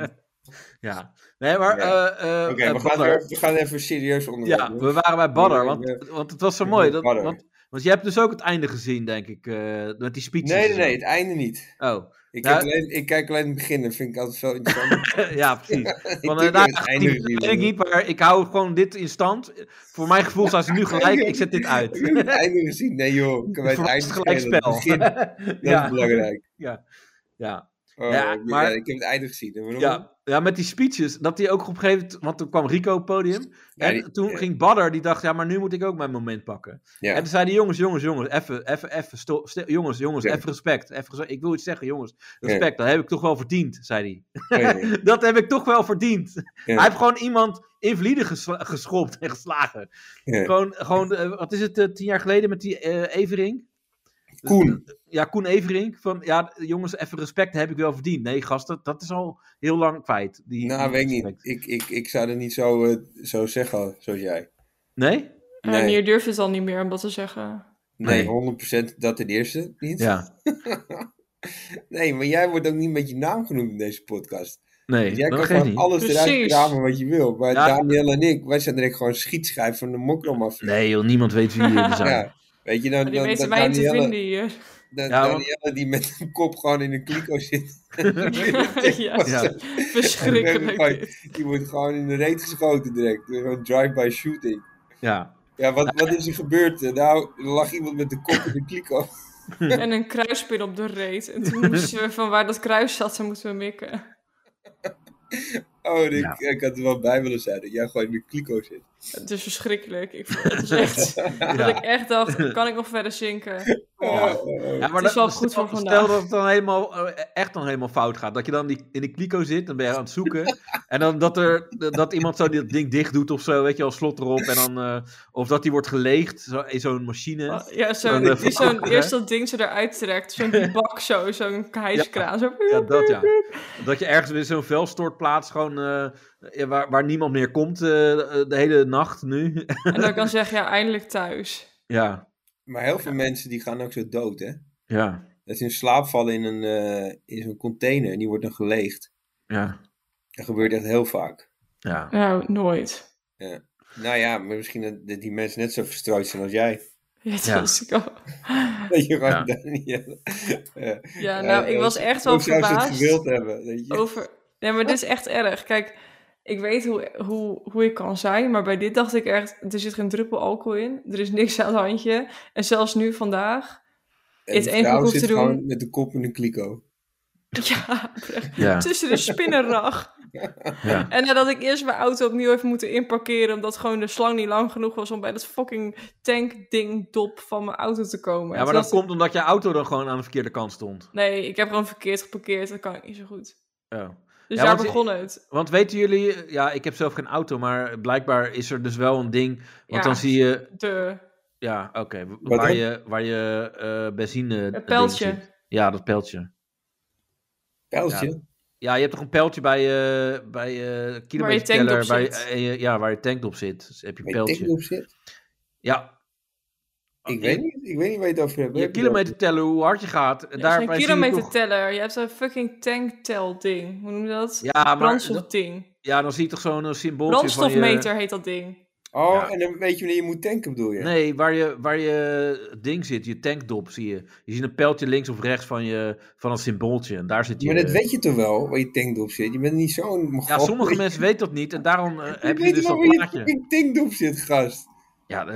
ja. Nee, maar... Ja. eh, eh, Oké, eh, we, gaan Badder. weer- we gaan even serieus onderwerp. Ja, doen. we waren bij Badder, Ja, want, want het was zo ja, mooi. Dat, Badder. want, want je hebt dus ook het einde gezien, denk ik, eh, met die speeches. Nee, en nee, zo. nee, het einde niet. Oh, Ik, Nou- heb alleen, ik kijk alleen het begin, dat vind ik altijd wel interessant. ja, precies. ik Want, heb eh, nou, het die- einde die- gezien, weet ik niet, maar ik hou gewoon dit in stand. Voor mijn gevoel staan ze nu gelijk, ik zet dit uit. Ik heb het einde gezien. Nee joh, ik heb het Voor mij is einde het gezien. gelijk Het spel. begin, dat is belangrijk. ja. Oh, Ja, ik- maar- ja, ik heb het einde gezien. En waarom? Ja, ja, met die speeches. Dat hij ook op een gegeven moment. Want toen kwam Rico op het podium. Ja, en die- toen ja. ging Badder. Die dacht, ja, maar nu moet ik ook mijn moment pakken. Ja. En toen zeiden die, jongens, jongens, jongens. Even, even, even. sto- stil- Jongens, jongens, Ja. even respect. Even, geze- ik wil iets zeggen, jongens. Ja. Respect, dat heb ik toch wel verdiend, zei Oh, ja. hij. dat heb ik toch wel verdiend. Ja. Hij heeft gewoon iemand invalide gesla- geschopt en geslagen. Ja. Gewoon, gewoon eh, wat is het, eh, tien jaar geleden met die eh, Evering? Koen. Ja, Koen Everink. Van, ja, jongens, even respect heb ik wel verdiend. Nee, gasten, dat is al heel lang kwijt. Die, Nou, die weet ik niet. respect. Ik, ik, ik zou dat niet zo, eh, zo zeggen, zoals jij. Nee? En Nee. hier durven ze al niet meer om dat te zeggen. Nee, Nee. 100% dat ten eerste niet. Ja. Nee, maar jij wordt ook niet met je naam genoemd in deze podcast. Nee, dat Jij kan geeft gewoon niet. alles eruit Precies. kramen wat je wil. Maar Ja. Daniel en ik, wij zijn direct gewoon schietschijf van de mokromafia. Nee joh, niemand weet wie jullie zijn. Ja, weet je, dan, Maar dan, die weten dan mij te Danielle- vinden hier. dan- Ja, want- Danielle die met een kop gewoon in een kliko zit. ja, Ja. verschrikkelijk. dit. Die wordt gewoon in de reet geschoten direct. Gewoon drive-by shooting. Ja. Ja, wat, wat is er gebeurd? Nou, er lag iemand met de kop in de kliko. En een kruispin op de reet. En toen moesten we van waar dat kruis zat, ze moesten we mikken. Oh, ik, Ja. ik had er wel bij willen zijn dat jij gewoon in de kliko zit. Het is verschrikkelijk. Ik, vond- het is echt, dat ik echt dacht, kan ik nog verder zinken? Oh, oh, oh. Ja, maar Het is dat- wel goed stel, voor Stel vandaag. dat het dan helemaal, eh, echt dan helemaal fout gaat. Dat je dan die, in de kliko zit, dan ben je aan het zoeken. en dan dat, er, dat iemand zo dat ding dicht doet of zo, weet je wel, slot erop. En dan, eh, of dat die wordt geleegd zo, in zo'n machine. Ja, zo, Dan, eh, die zo'n verkopen, eerst dat ding zo eruit trekt. Zo'n bak zo, zo'n hijskraan. Zo. Ja, dat ja. Dat je ergens weer zo'n vuilstortplaats gewoon, eh, ja, waar, waar niemand meer komt eh, de hele nacht nu. En dan kan zeggen, ja, eindelijk thuis. ja, Maar heel veel mensen die gaan ook zo dood, hè? ja. dat ze in slaap vallen in, een, eh, in zo'n container en die wordt dan geleegd. Ja. Dat gebeurt echt heel vaak. Ja. Nou, nooit. Nou ja, maar misschien dat dat die mensen net zo verstrooid zijn als jij. Ja, dat Ja. was ik al. Dat je gewoon Ja. daar niet... eh, Ja, nou, eh, ik was echt wel Hoe zou ze het verbaasd gewild hebben? Weet je? over... Nee, maar dit is echt erg. Kijk, ik weet hoe, hoe, hoe ik kan zijn, maar bij dit dacht ik echt... Er zit geen druppel alcohol in, er is niks aan het handje. En zelfs nu vandaag... En het die enige vrouw wat ik hoef zit te doen- gewoon met de kop in een kliko. Ja, Ja. tussen de spinnenrag. Ja. En nadat ik eerst mijn auto opnieuw heb moeten inparkeren... omdat gewoon de slang niet lang genoeg was... om bij dat fucking tankdingdop van mijn auto te komen. ja, maar Toen dat dacht ik, komt omdat je auto dan gewoon aan de verkeerde kant stond. Nee, ik heb gewoon verkeerd geparkeerd. Dat kan ik niet zo goed. Ja. Dus Ja, daar want- begon het. Want weten jullie, ja, ik heb zelf geen auto, maar blijkbaar is er dus wel een ding. Want Ja. dan zie je, De, ja, oké, w- Wat waar, dan? je, waar je eh benzine. het ding pijltje. ziet. Ja, dat pijltje. Pijltje. Ja, je hebt toch een pijltje bij je, bij je kilometerteller, tankdop waar je, zit. en je- ja, waar je tankdop zit. Dus heb je Weet ik pijltje. hoe het zit? Ja. Ik weet niet. Ik weet niet waar je het over hebt. Je kilometerteller, hoe hard je gaat. en Daar daarbij een zie je toch- kilometerteller. Je hebt een fucking tanktel-ding. Hoe noem je dat? Ja, maar Brandstofding. ja, dan zie je toch zo'n eh, symbooltje van je... Brandstofmeter heet dat ding. Oh, Ja. en dan weet je wanneer je moet tanken, bedoel je? Nee, waar je, waar je ding zit, je tankdop zie je. Je ziet een pijltje links of rechts van, je, van een symbooltje. En daar zit je... eh, Maar dat weet je toch wel, waar je tankdop zit? Je bent niet zo'n... ja, sommige mensen weten dat niet. En daarom eh, heb je weet dus wel dat waar je plaatje. fucking tankdop zit, gast. Ja, Of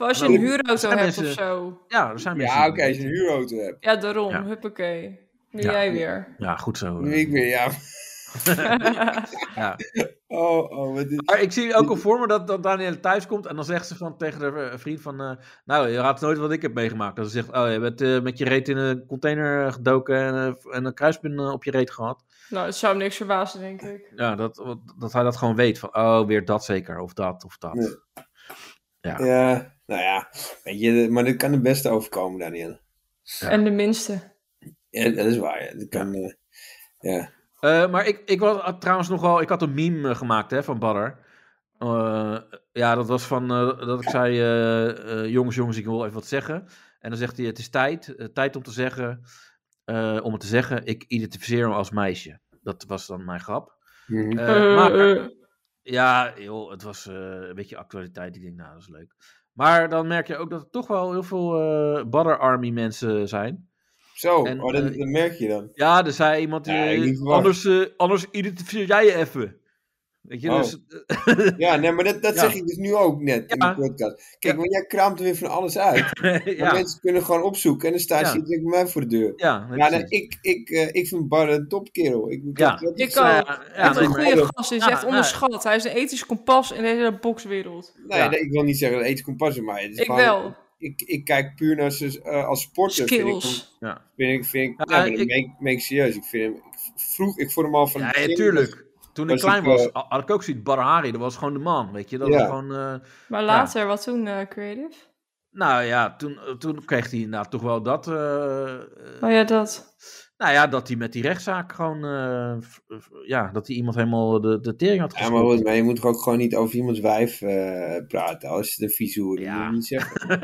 eh, als je hallo. een huurauto zijn hebt of mensen- zo. ja, er zijn mensen... Ja, oké, die- als je een huurauto hebt. Ja, daarom. Ja. Huppakee. Nu Ja. jij weer. Ja, goed zo. eh. Nu ik weer, ja. Ja. Oh, oh, wat is... Maar ik zie ook al voor me dat, dat Danielle thuis komt en dan zegt ze van, tegen haar eh, vriend van... eh, nou, je raadt nooit wat ik heb meegemaakt. Dat ze zegt, oh, je bent eh, met je reet in een container eh, gedoken en, eh, en een kruispin eh, op je reet gehad. Nou, het zou hem niks verbazen, denk ik. Ja, dat, dat hij dat gewoon weet. Van, oh, weer dat zeker, of dat, of dat. Nee. Ja. Ja, nou ja. Weet je, maar dat kan de beste overkomen, Daniel. Ja. En de minste. Ja, dat is waar, ja. Dat kan... eh, ja. Eh, maar ik, ik was had trouwens nog wel... Ik had een meme eh, gemaakt hè, van Badder. Eh, ja, dat was van eh, dat ik zei... eh, eh, jongens, jongens, ik wil even wat zeggen. En dan zegt hij, het is tijd. eh, tijd om te zeggen... eh, om het te zeggen, ik identificeer me als meisje. Dat was dan mijn grap. Mhm. Eh, Eh, maar eh. ja, joh, het was eh, een beetje actualiteit. Ik denk, nou, dat is leuk. Maar dan merk je ook dat er toch wel heel veel eh Badder Army mensen zijn. Zo, En, oh, dat, eh, dat merk je dan. Ja, er zei iemand. Ja, eh, ik niet verwacht. anders, eh, anders identificeer jij je even. Weet je, Oh. dus. Ja, nee, maar dat, dat Ja. zeg ik dus nu ook net in Ja. de podcast. Kijk, Ja. want jij kraamt er weer van alles uit. Maar eh, ja, mensen kunnen gewoon opzoeken en dan staat Ja. je direct bij mij voor de deur. ja, nee, Ja, nee, precies. ik, ik, eh, ik vind Bar een topkerel. Ik, ik Ja. heb dat Ik zo- ook. ja, Echt nee, een maar- goede gast. Hij is Ja, echt nee. onderschat. Hij is een ethisch kompas in de hele bokswereld. Nee, Ja. Nou nee, ik wil niet zeggen dat eten kompas is, maar het is Ik gewoon- wel. Ik, ik kijk puur naar ze eh, als sporter. Vind ik, hem- Skills. vind ik, vind ik, Ja, nee, maar dat ik- meen ik- meen ik serieus. Ik vind hem, ik vroeg, ik vond hem al van. ja, het ja, begin- tuurlijk. Toen ik was klein ik, was, eh, ha- had ik ook zoiets. Badder Hari, dat was gewoon de man. Weet je, dat Ja. was gewoon. eh, Maar later, wat toen, eh, Creative? nou ja, toen, eh, toen kreeg hij inderdaad toch wel dat. eh, eh, Oh ja, dat. Nou ja, dat hij met die rechtszaak gewoon. eh, f- f- ja, dat hij iemand helemaal de, de tering had Ja, geschopt. maar, goed, maar je moet toch ook gewoon niet over iemands wijf eh, praten. Als het een visoer is, dat moet Ja. je niet zeggen.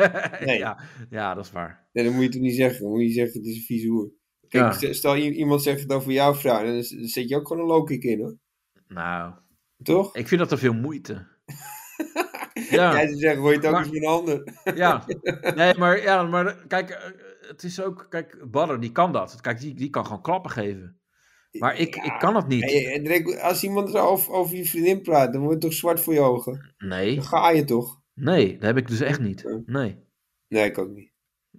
Nee. ja, ja, dat is waar. Nee, dat moet je toch niet zeggen. Dan moet je zeggen, het is een visoer. Kijk, Ja. st- stel i- iemand zegt het over jouw vrouw, dan, is- dan zet je ook gewoon een low kick in, hoor. Nou, Toch? ik vind dat te veel moeite. Jij zou zeggen, hoor je het ook Maar- eens met een ander? Ja, nee, maar, ja, maar kijk, eh, het is ook, kijk, Badder die kan dat. Kijk, die, die kan gewoon klappen geven. Maar ik, Ja. ik kan dat En niet. je- en direct, eh, als iemand er over, over je vriendin praat, dan wordt het toch zwart voor je ogen? Nee, Dan ga je toch? nee, dat heb ik dus echt niet. Nee. Nee, ik ook niet.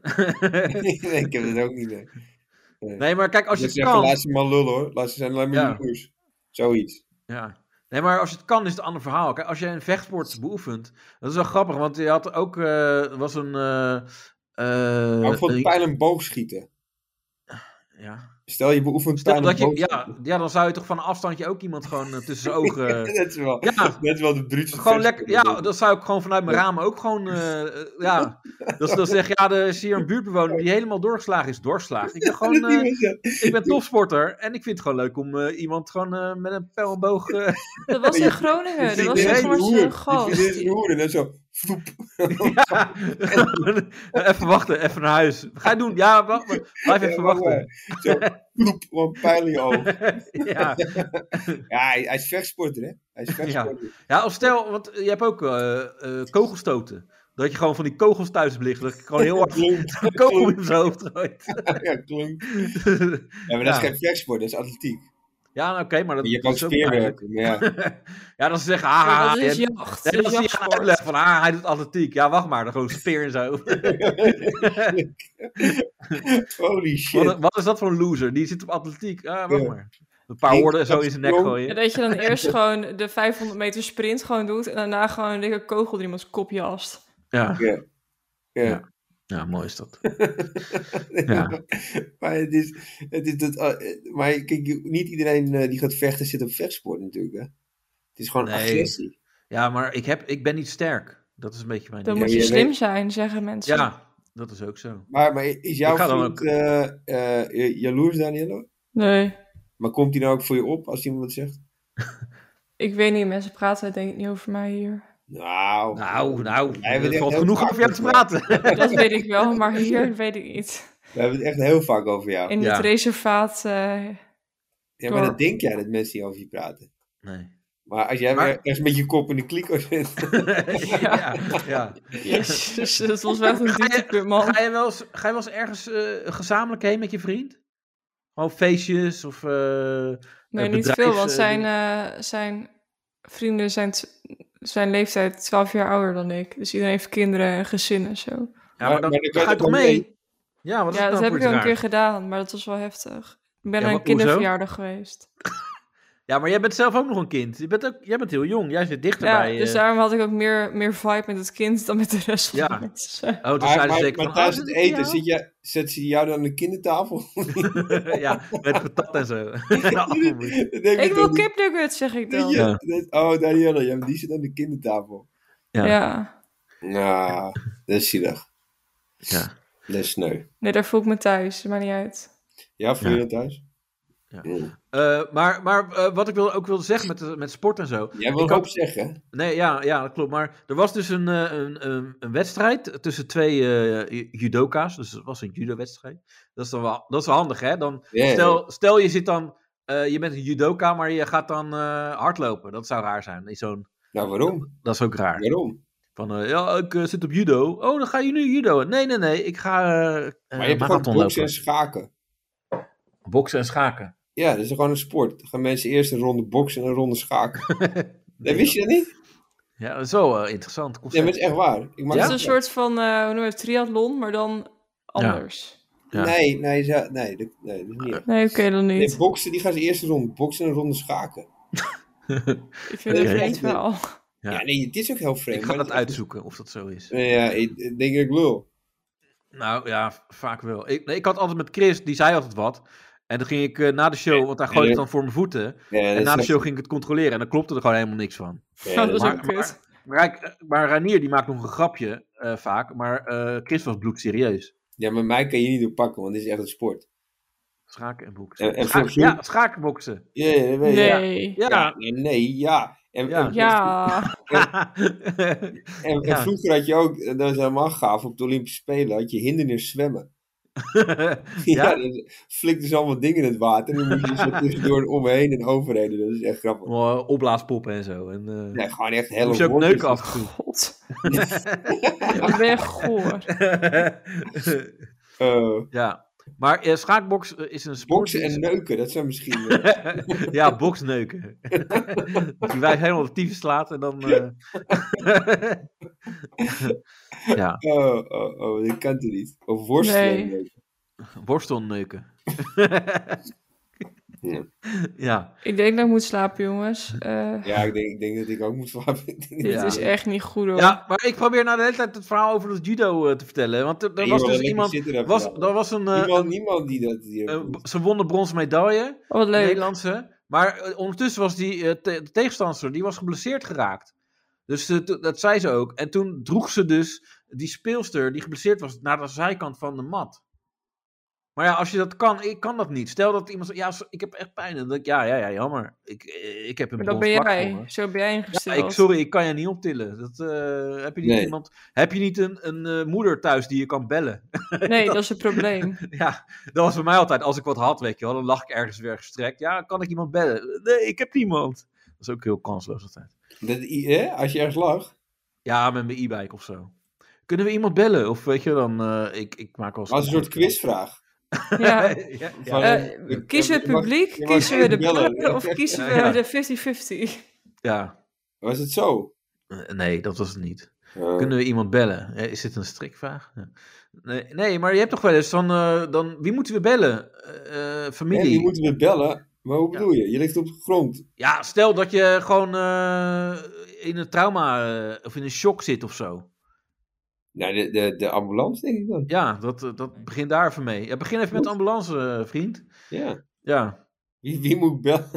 nee, ik heb het ook niet. Nee. Nee, maar kijk, als je ik het zeg, laat kan. ze maar lullen hoor. Laat ze zijn alleen maar Ja. ja. jaloers. Zoiets. Eh, Ja. Nee, maar als je het kan, is het een ander verhaal. Kijk, als je een vechtsport beoefent, dat is wel grappig, want je had ook, eh, er was een. eh, eh, Maar bijvoorbeeld een- pijl en boog schieten. ja. Stel je beoefent Stel pijl en dat je, boog ja, ja, dan zou je toch van een afstandje ook iemand gewoon eh, tussen zijn schieten. ogen. dat, is wel, Ja. dat is wel de bruutste Gewoon versie. lekker, ja, dat zou ik gewoon vanuit mijn raam ook gewoon, eh, eh, ja. Dat ze dan zeggen, ja, er is hier een buurtbewoner die helemaal doorgeslagen is. Doorgeslagen. Ik ben gewoon, Dat die eh, mensen- ik ben topsporter en ik vind het gewoon leuk om eh, iemand gewoon eh, met een pijl en boog... eh, Dat was in Je- Groningen. Die Dat was vriendin echt is een maar hoer. zo'n Die vriendin is gast. een hoer. En dan zo, Ja. even wachten, even naar huis. Ga je doen? Ja, wacht maar. Blijf even wachten. Ploep, gewoon pijl in je oog. ja. Ja, hij, hij is vechtsporter, hè? Hij is vechtsporter. ja, of stel, want je hebt ook eh, eh, kogelstoten. Dat je gewoon van die kogels thuis hebt liggen. Dat je gewoon heel hard Klonk. een kogel in zijn hoofd gooit. Ja, klonk. Ja, maar dat is Ja. geen vechtsport, dat is atletiek. ja, nou, oké, maar dat Maar je hebt dat ook is eigenlijk- speerwerken. maar Ja. ja, dan zeggen ze, ah, Maar dat je is hebt- jacht. Nee, Dat dat is is die gaan jachtsport. uitleggen van, ah, hij doet atletiek. Ja, wacht maar, dan gewoon speer en zo. Holy Wat, shit. wat is dat voor een loser? Die zit op atletiek. Ah, wacht Ja. maar. Een paar Ik- woorden zo dat in zijn nek klonk- Ja, gooien. dat je dan eerst gewoon de 500 meter sprint gewoon doet. En daarna gewoon een dikke kogel door iemands kop jast. Ja, Ja. ja mooi is dat. Ja. maar het is, het is dat, eh, maar kijk, je- niet iedereen eh, die gaat vechten zit op vechtsport natuurlijk. Hè? Het is gewoon Nee. agressie. Ja, maar ik, heb, ik ben niet sterk. Dat is een beetje mijn Dan ding. moet Ja, je je slim weet- zijn, zeggen mensen. Ja, dat is ook zo. Maar, maar is jouw Ik ga dan vriend ook- eh, eh, jaloers, Daniel? Nee, Maar komt hij nou ook voor je op als iemand wat zegt? ik weet niet. Mensen praten denk ik niet over mij hier. Nou, Nou, nou, Hij er wil valt echt genoeg heel over jou te vaak praten. Dat weet ik wel, maar hier weet ik niet. we hebben het echt heel vaak over jou. In Ja. het reservaat... eh, Ja, maar door- dat denk jij dat mensen hier over je praten. Nee. Maar als jij Maar- weer ergens met je kop in de kliko zit. ja, ja. jezus, dat Dus, eh, was wel echt een Ga je- dieptepunt, man. Ga, je wel eens, ga je wel eens ergens eh, gezamenlijk heen met je vriend? Gewoon feestjes of... eh, Nee, eh, niet bedrijfs- veel, want eh, zijn, eh, zijn vrienden zijn, t- zijn leeftijd 12 jaar ouder dan ik. Dus iedereen heeft kinderen en gezinnen en zo. Ja, maar dan, maar dan kan dan ga je je toch toch mee? Ja, wat is Ja, dat dat heb ik al een een keer gedaan, maar dat was wel heftig. Ik ben Ja, maar naar een hoezo? kinderverjaardag geweest. Ja, maar jij bent zelf ook nog een kind. Je bent, ook, jij bent heel jong. Jij zit Ja, dichterbij. dus eh. daarom had ik ook meer, meer vibe met het kind dan met de rest van Ja. de mensen. Oh, toen Maar, zeiden ze maar, zeker maar van, tijdens oh, het dit is eten zit je, zet ze jou dan aan de kindertafel? jou. ja, met patat en zo. Appelmoes. Dan denk Ik dat wil die- kipnuggets, zeg ik dat dan. je- Ja. Ja. dat- Oh, Danielle, ja, maar die zit aan de kindertafel. Ja. Nou, dat is zielig. Ja. Dat is sneu. Nee, daar voel ik me thuis, maakt niet uit. Ja, voel Ja. je dat thuis? Ja. Mm. Eh, maar maar eh, wat ik wil, ook wilde zeggen met, met sport en zo. Jij wil Ik had- ook zeggen. Nee, ja, ja, dat klopt. Maar er was dus een, eh, een, een, een wedstrijd tussen twee eh, judoka's. Dus het was een judo-wedstrijd. Dat is dan wel, dat is wel handig, hè? Dan, Ja, Stel, stel je zit dan, eh, je bent een judoka, maar je gaat dan eh, hardlopen. Dat zou raar zijn. In zo'n, Nou, waarom? dat is ook raar. Waarom? Van, eh, ja, ik eh, zit op judo. Oh, dan ga je nu judo. Nee, nee, nee, ik ga eh, eh, Maar je hebt gewoon marathon boksen en lopen. schaken. Boksen en schaken. Ja, dat is gewoon een sport. Dan gaan mensen eerst een ronde boksen en een ronde schaken. dat wist je dat niet? Ja, dat is wel eh, interessant Ja, concept. maar het is echt waar. Ik maak Ja? Het is een soort van, eh, hoe noem je het, triathlon, maar dan anders. Ja. Nee, nee, ze- nee, dat, nee, dat is niet. echt. Nee, oké, dan niet. Nee, boksen, die gaan ze eerst een ronde boksen en een ronde schaken. Ik vind het Oké. een vreemd verhaal. Ja. Ja, nee, het is ook heel vreemd. ik ga maar dat uitzoeken of dat zo is. Nee, Ja, ik ik denk dat ik lul. Nou ja, v- vaak wel. Ik, nee, ik had altijd met Chris, die zei altijd wat. En toen ging ik eh, na de show, want hij gooide het dan voor mijn voeten. Ja, En na dat de is show ging ik het controleren en dan klopte er gewoon helemaal niks van. ja, dat dat is is- ook kut. Maar, kijk, eh, maar Ranier die maakt nog een grapje eh, vaak, maar eh Chris was bloedserieus. ja, maar mij kan je niet doorpakken, want dit is echt een sport. Schaken en boksen. En- en Schaken- volgens ja, jou- schaken boksen. Ja, ja, dat weet je. Nee. Ja. Ja, ja, nee, ja. En, Ja. en- Ja. en- en Ja. vroeger had je ook, dat was helemaal gaaf, op de Olympische Spelen had je hindernis zwemmen. Ja, Ja? dan flikt dus allemaal dingen in het water en dan moet je dus er tussendoor omheen en overheen. Dat is echt grappig. Oh, opblaaspoppen en zo. En, eh Nee, gewoon echt hele moest je ook woorden. neuken af en toe. God. Wat ben je goor. Eh, ja, maar eh, schaakboks eh, is een sport. boksen en neuken, dat zijn misschien... eh, ja, boksneuken. Die wij helemaal op tyfus slaat en dan... eh, ja, Oh, oh, oh, dat kan toch niet? Of worstelen. Nee. neuken. borstelneuken. Ja. ja. Ik denk dat ik moet slapen, jongens. Eh, Ja, ik denk, ik denk dat ik ook moet slapen. Dit Ja. is echt niet goed, hoor. Ja, maar ik probeer nou de hele tijd het verhaal over dat judo eh, te vertellen. Want er, er was dus iemand. Er Was, er was een. eh, niemand, niemand die dat hier. een- een- Eh, ze won de bronzen medaille. Oh, wat de leuk. Nederlandse. Maar eh, ondertussen was die eh, te- de tegenstander die was geblesseerd geraakt. Dus eh, to- dat zei ze ook. En toen droeg ze dus die speelster die geblesseerd was naar de zijkant van de mat. Maar ja, als je dat kan, ik kan dat niet. Stel dat iemand zegt, ja, so- ik heb echt pijn. En dan denk ik, ja, ja, ja, jammer. Ik, eh, ik heb een Maar dat brons ben vlak jij. voor me. Zo ben jij ingesteld. Ja, Ah, ik, sorry, ik kan je niet optillen. Dat, eh, heb je niet, Nee. iemand, heb je niet een, een eh, moeder thuis die je kan bellen? Nee, dat is het probleem. ja, dat was bij mij altijd. Als ik wat had, weet je wel, dan lag ik ergens weer gestrekt. Ja, kan ik iemand bellen? Nee, ik heb niemand. Dat is ook heel kansloos altijd. Dat, i- hè? Als je ergens lag. Ja, met mijn e-bike of zo. Kunnen we iemand bellen? Of weet je, dan, eh, ik, ik maak wel eens Als een soort quizvraag. Ja. ja, ja. Van, Eh, eh, je- Kiezen we je het mag- publiek, je mag kiezen we de even bellen. bellen of kiezen we Ja. de 50-50? Ja. Was het zo? Eh, nee, dat was het niet. Eh, Kunnen we iemand bellen? Eh, Is dit een strikvraag? Ja. Nee, nee, maar je hebt toch wel eens van, eh, dan, wie moeten we bellen? Eh, eh, hè, familie. die moeten we bellen. Maar hoe Ja. bedoel je? Je ligt op de grond. Ja, stel dat je gewoon eh, in een trauma eh, of in een shock zit of zo. Nou, de, de, de ambulance denk ik dan. Ja, dat, eh, dat begin daar even mee. Ja, begin even met de ambulance, eh, vriend. Ja. Ja. Wie, wie moet ik bellen?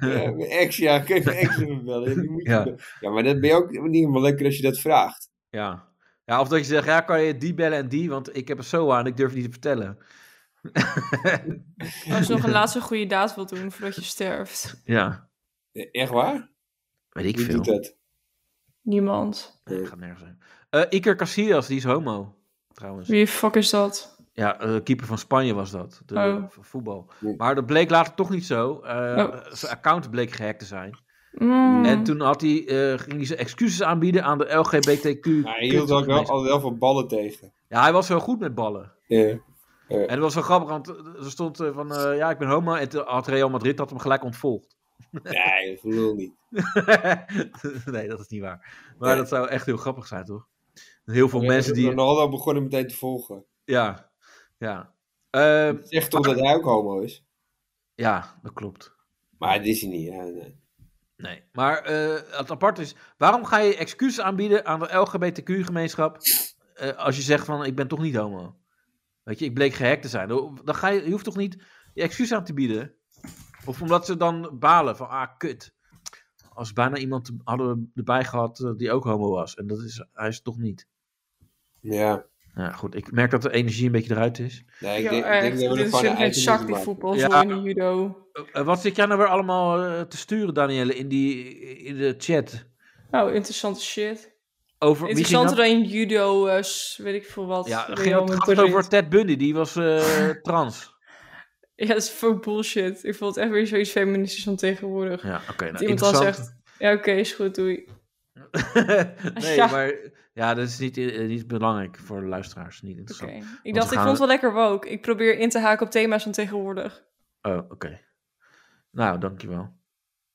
Ja, mijn ex, ja. Kijk, mijn ex even bellen. Ja, wie moet je Ja. bellen? ja, maar dat ben je ook niet helemaal lekker als je dat vraagt. ja. Ja, of dat je zegt, ja, kan je die bellen en die, want ik heb er zo aan, ik durf het niet te vertellen. Als je nog een laatste goede daad wilt doen voordat je sterft. Ja, Eh, Echt waar? weet ik Wie veel. doet dat? Niemand. Nee, dat gaat nergens zijn. Eh, Iker Casillas, die is homo, trouwens. Wie de fuck is dat? Ja, eh, keeper van Spanje was dat. De Oh. v- voetbal. Nee. Maar dat bleek later toch niet zo. Eh, Oh. Zijn account bleek gehackt te zijn. Mm. En toen had hij, eh, ging hij zijn excuses aanbieden aan de LGBTQ. Maar hij hield ook wel, altijd wel van ballen tegen. Ja, hij was zo goed met ballen. Ja. En dat was zo grappig, want er stond eh, van... eh, ja, ik ben homo. En toen had Real Madrid had hem gelijk ontvolgd. Nee, gelul niet. nee, dat is niet waar. Maar Nee. dat zou echt heel grappig zijn, toch? Heel veel Ja, mensen die... Ronaldo begon hem meteen te volgen. Ja, ja. Eh, Zegt toch dat hij ook homo is? ja, dat klopt. Maar dat is hij niet. Ja, nee. Nee, maar eh, het apart is, waarom ga je excuses aanbieden aan de LGBTQ-gemeenschap eh, als je zegt van ik ben toch niet homo? Weet je, ik bleek gehackt te zijn. Dan dan ga je, je hoeft toch niet je excuus aan te bieden? Of omdat ze dan balen van ah, kut. Als bijna iemand hadden we erbij gehad eh, die ook homo was. En dat is, hij is het toch niet. Ja. Nou goed, ik merk dat de energie een beetje eruit is. Nee, ik Ja, denk, ik denk echt. dat we Dit er is gewoon een natuurlijk geen eind zak moeten die maken. voetbal, Ja. zo in de judo. Eh, eh, wat zit jij nou weer allemaal eh, te sturen, Danielle, in, die, in de chat? Nou, interessante shit. Over, wie ging dat? Interessanter dan judo, eh, s- weet ik veel wat. Ja, het ging- Real het gaat Madrid. over Ted Bundy, die was eh, trans. Ja, dat is veel bullshit. Ik vond het echt weer zoiets feministisch van tegenwoordig. Ja, oké. dat nou, iemand dan interessant. zegt, ja oké, is goed, doei. nee, Ja. maar ja, dat is niet, eh, niet belangrijk voor de luisteraars. Niet interessant. Oké. Ik Want dacht, we ik gaan- vond het wel lekker woke. Ik probeer in te haken op thema's van tegenwoordig. Oh, oké. Nou, dankjewel.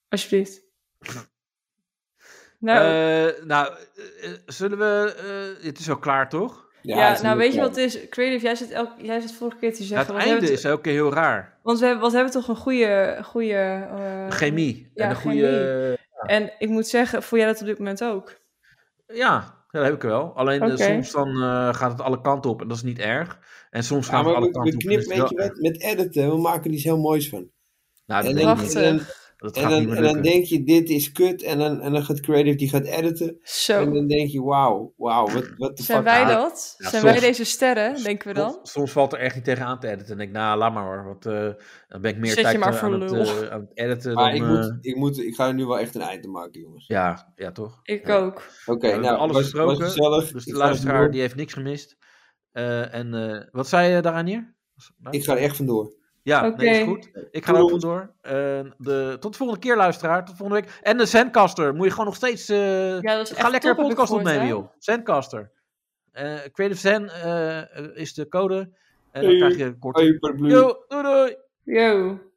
Alsjeblieft. nou, Nou, nou eh, eh, zullen we... eh, het is al klaar, toch? ja, het is nou niet weet je leuk. wat het is? Creative, jij zit, elk, jij zit vorige keer Ja, te het zeggen... want we einde hebben is elke keer heel raar. Want we hebben, wat hebben we toch een goede... goede eh, Chemie. ja, en een goede... En ik moet zeggen, voel jij dat op dit moment ook? Ja, dat heb ik wel. Alleen eh, Oké. soms dan eh, gaat het alle kanten op en dat is niet erg. En soms Ja, gaat het maar alle we, we kanten op. en knippen, is het weet je wel wat, erg. met editen, we maken er iets heel moois van. Nou, dat En denk ik niet. Prachtig. en Dat En gaat niet dan, meer en dan lukken. denk je, dit is kut, en dan, en dan gaat Creative, die gaat editen, en Zo, dan denk je, wauw, wauw, wat, wat de zijn fuck. wij ja. dat? Ja, zijn soms. wij deze sterren, denken we dan? Soms, soms valt er echt niet tegen aan te editen. En denk ik, nou, laat maar hoor. Want eh, dan ben ik meer Zet je tijd maar eh, voor aan, het, lul. eh, aan het editen. dan, Maar ik, eh, moet, ik, moet, ik ga er nu wel echt een eind aan maken, jongens. ja, ja, toch? Ik Ja. ook. Oké, We hebben nou, alles was, was besproken, gezellig. Dus de Ik ga er luisteraar vandoor. die heeft niks gemist. Eh, en eh, wat zei je daaraan hier? Ik ga er echt vandoor. Ja, nee, is Oké. goed. Ik ga er ook vandoor. Eh, de, tot de volgende keer, luisteraar. Tot volgende week. En de Zencaster. Moet je gewoon nog steeds... eh, Ja, dat is echt ga lekker een top, heb ik podcast gehoord, opnemen, hè? joh. Zencaster. Eh, Creative Zen eh, is de code. En dan Hey. krijg je een korte... Hoi, paraplu. Yo, doei doei! Yo.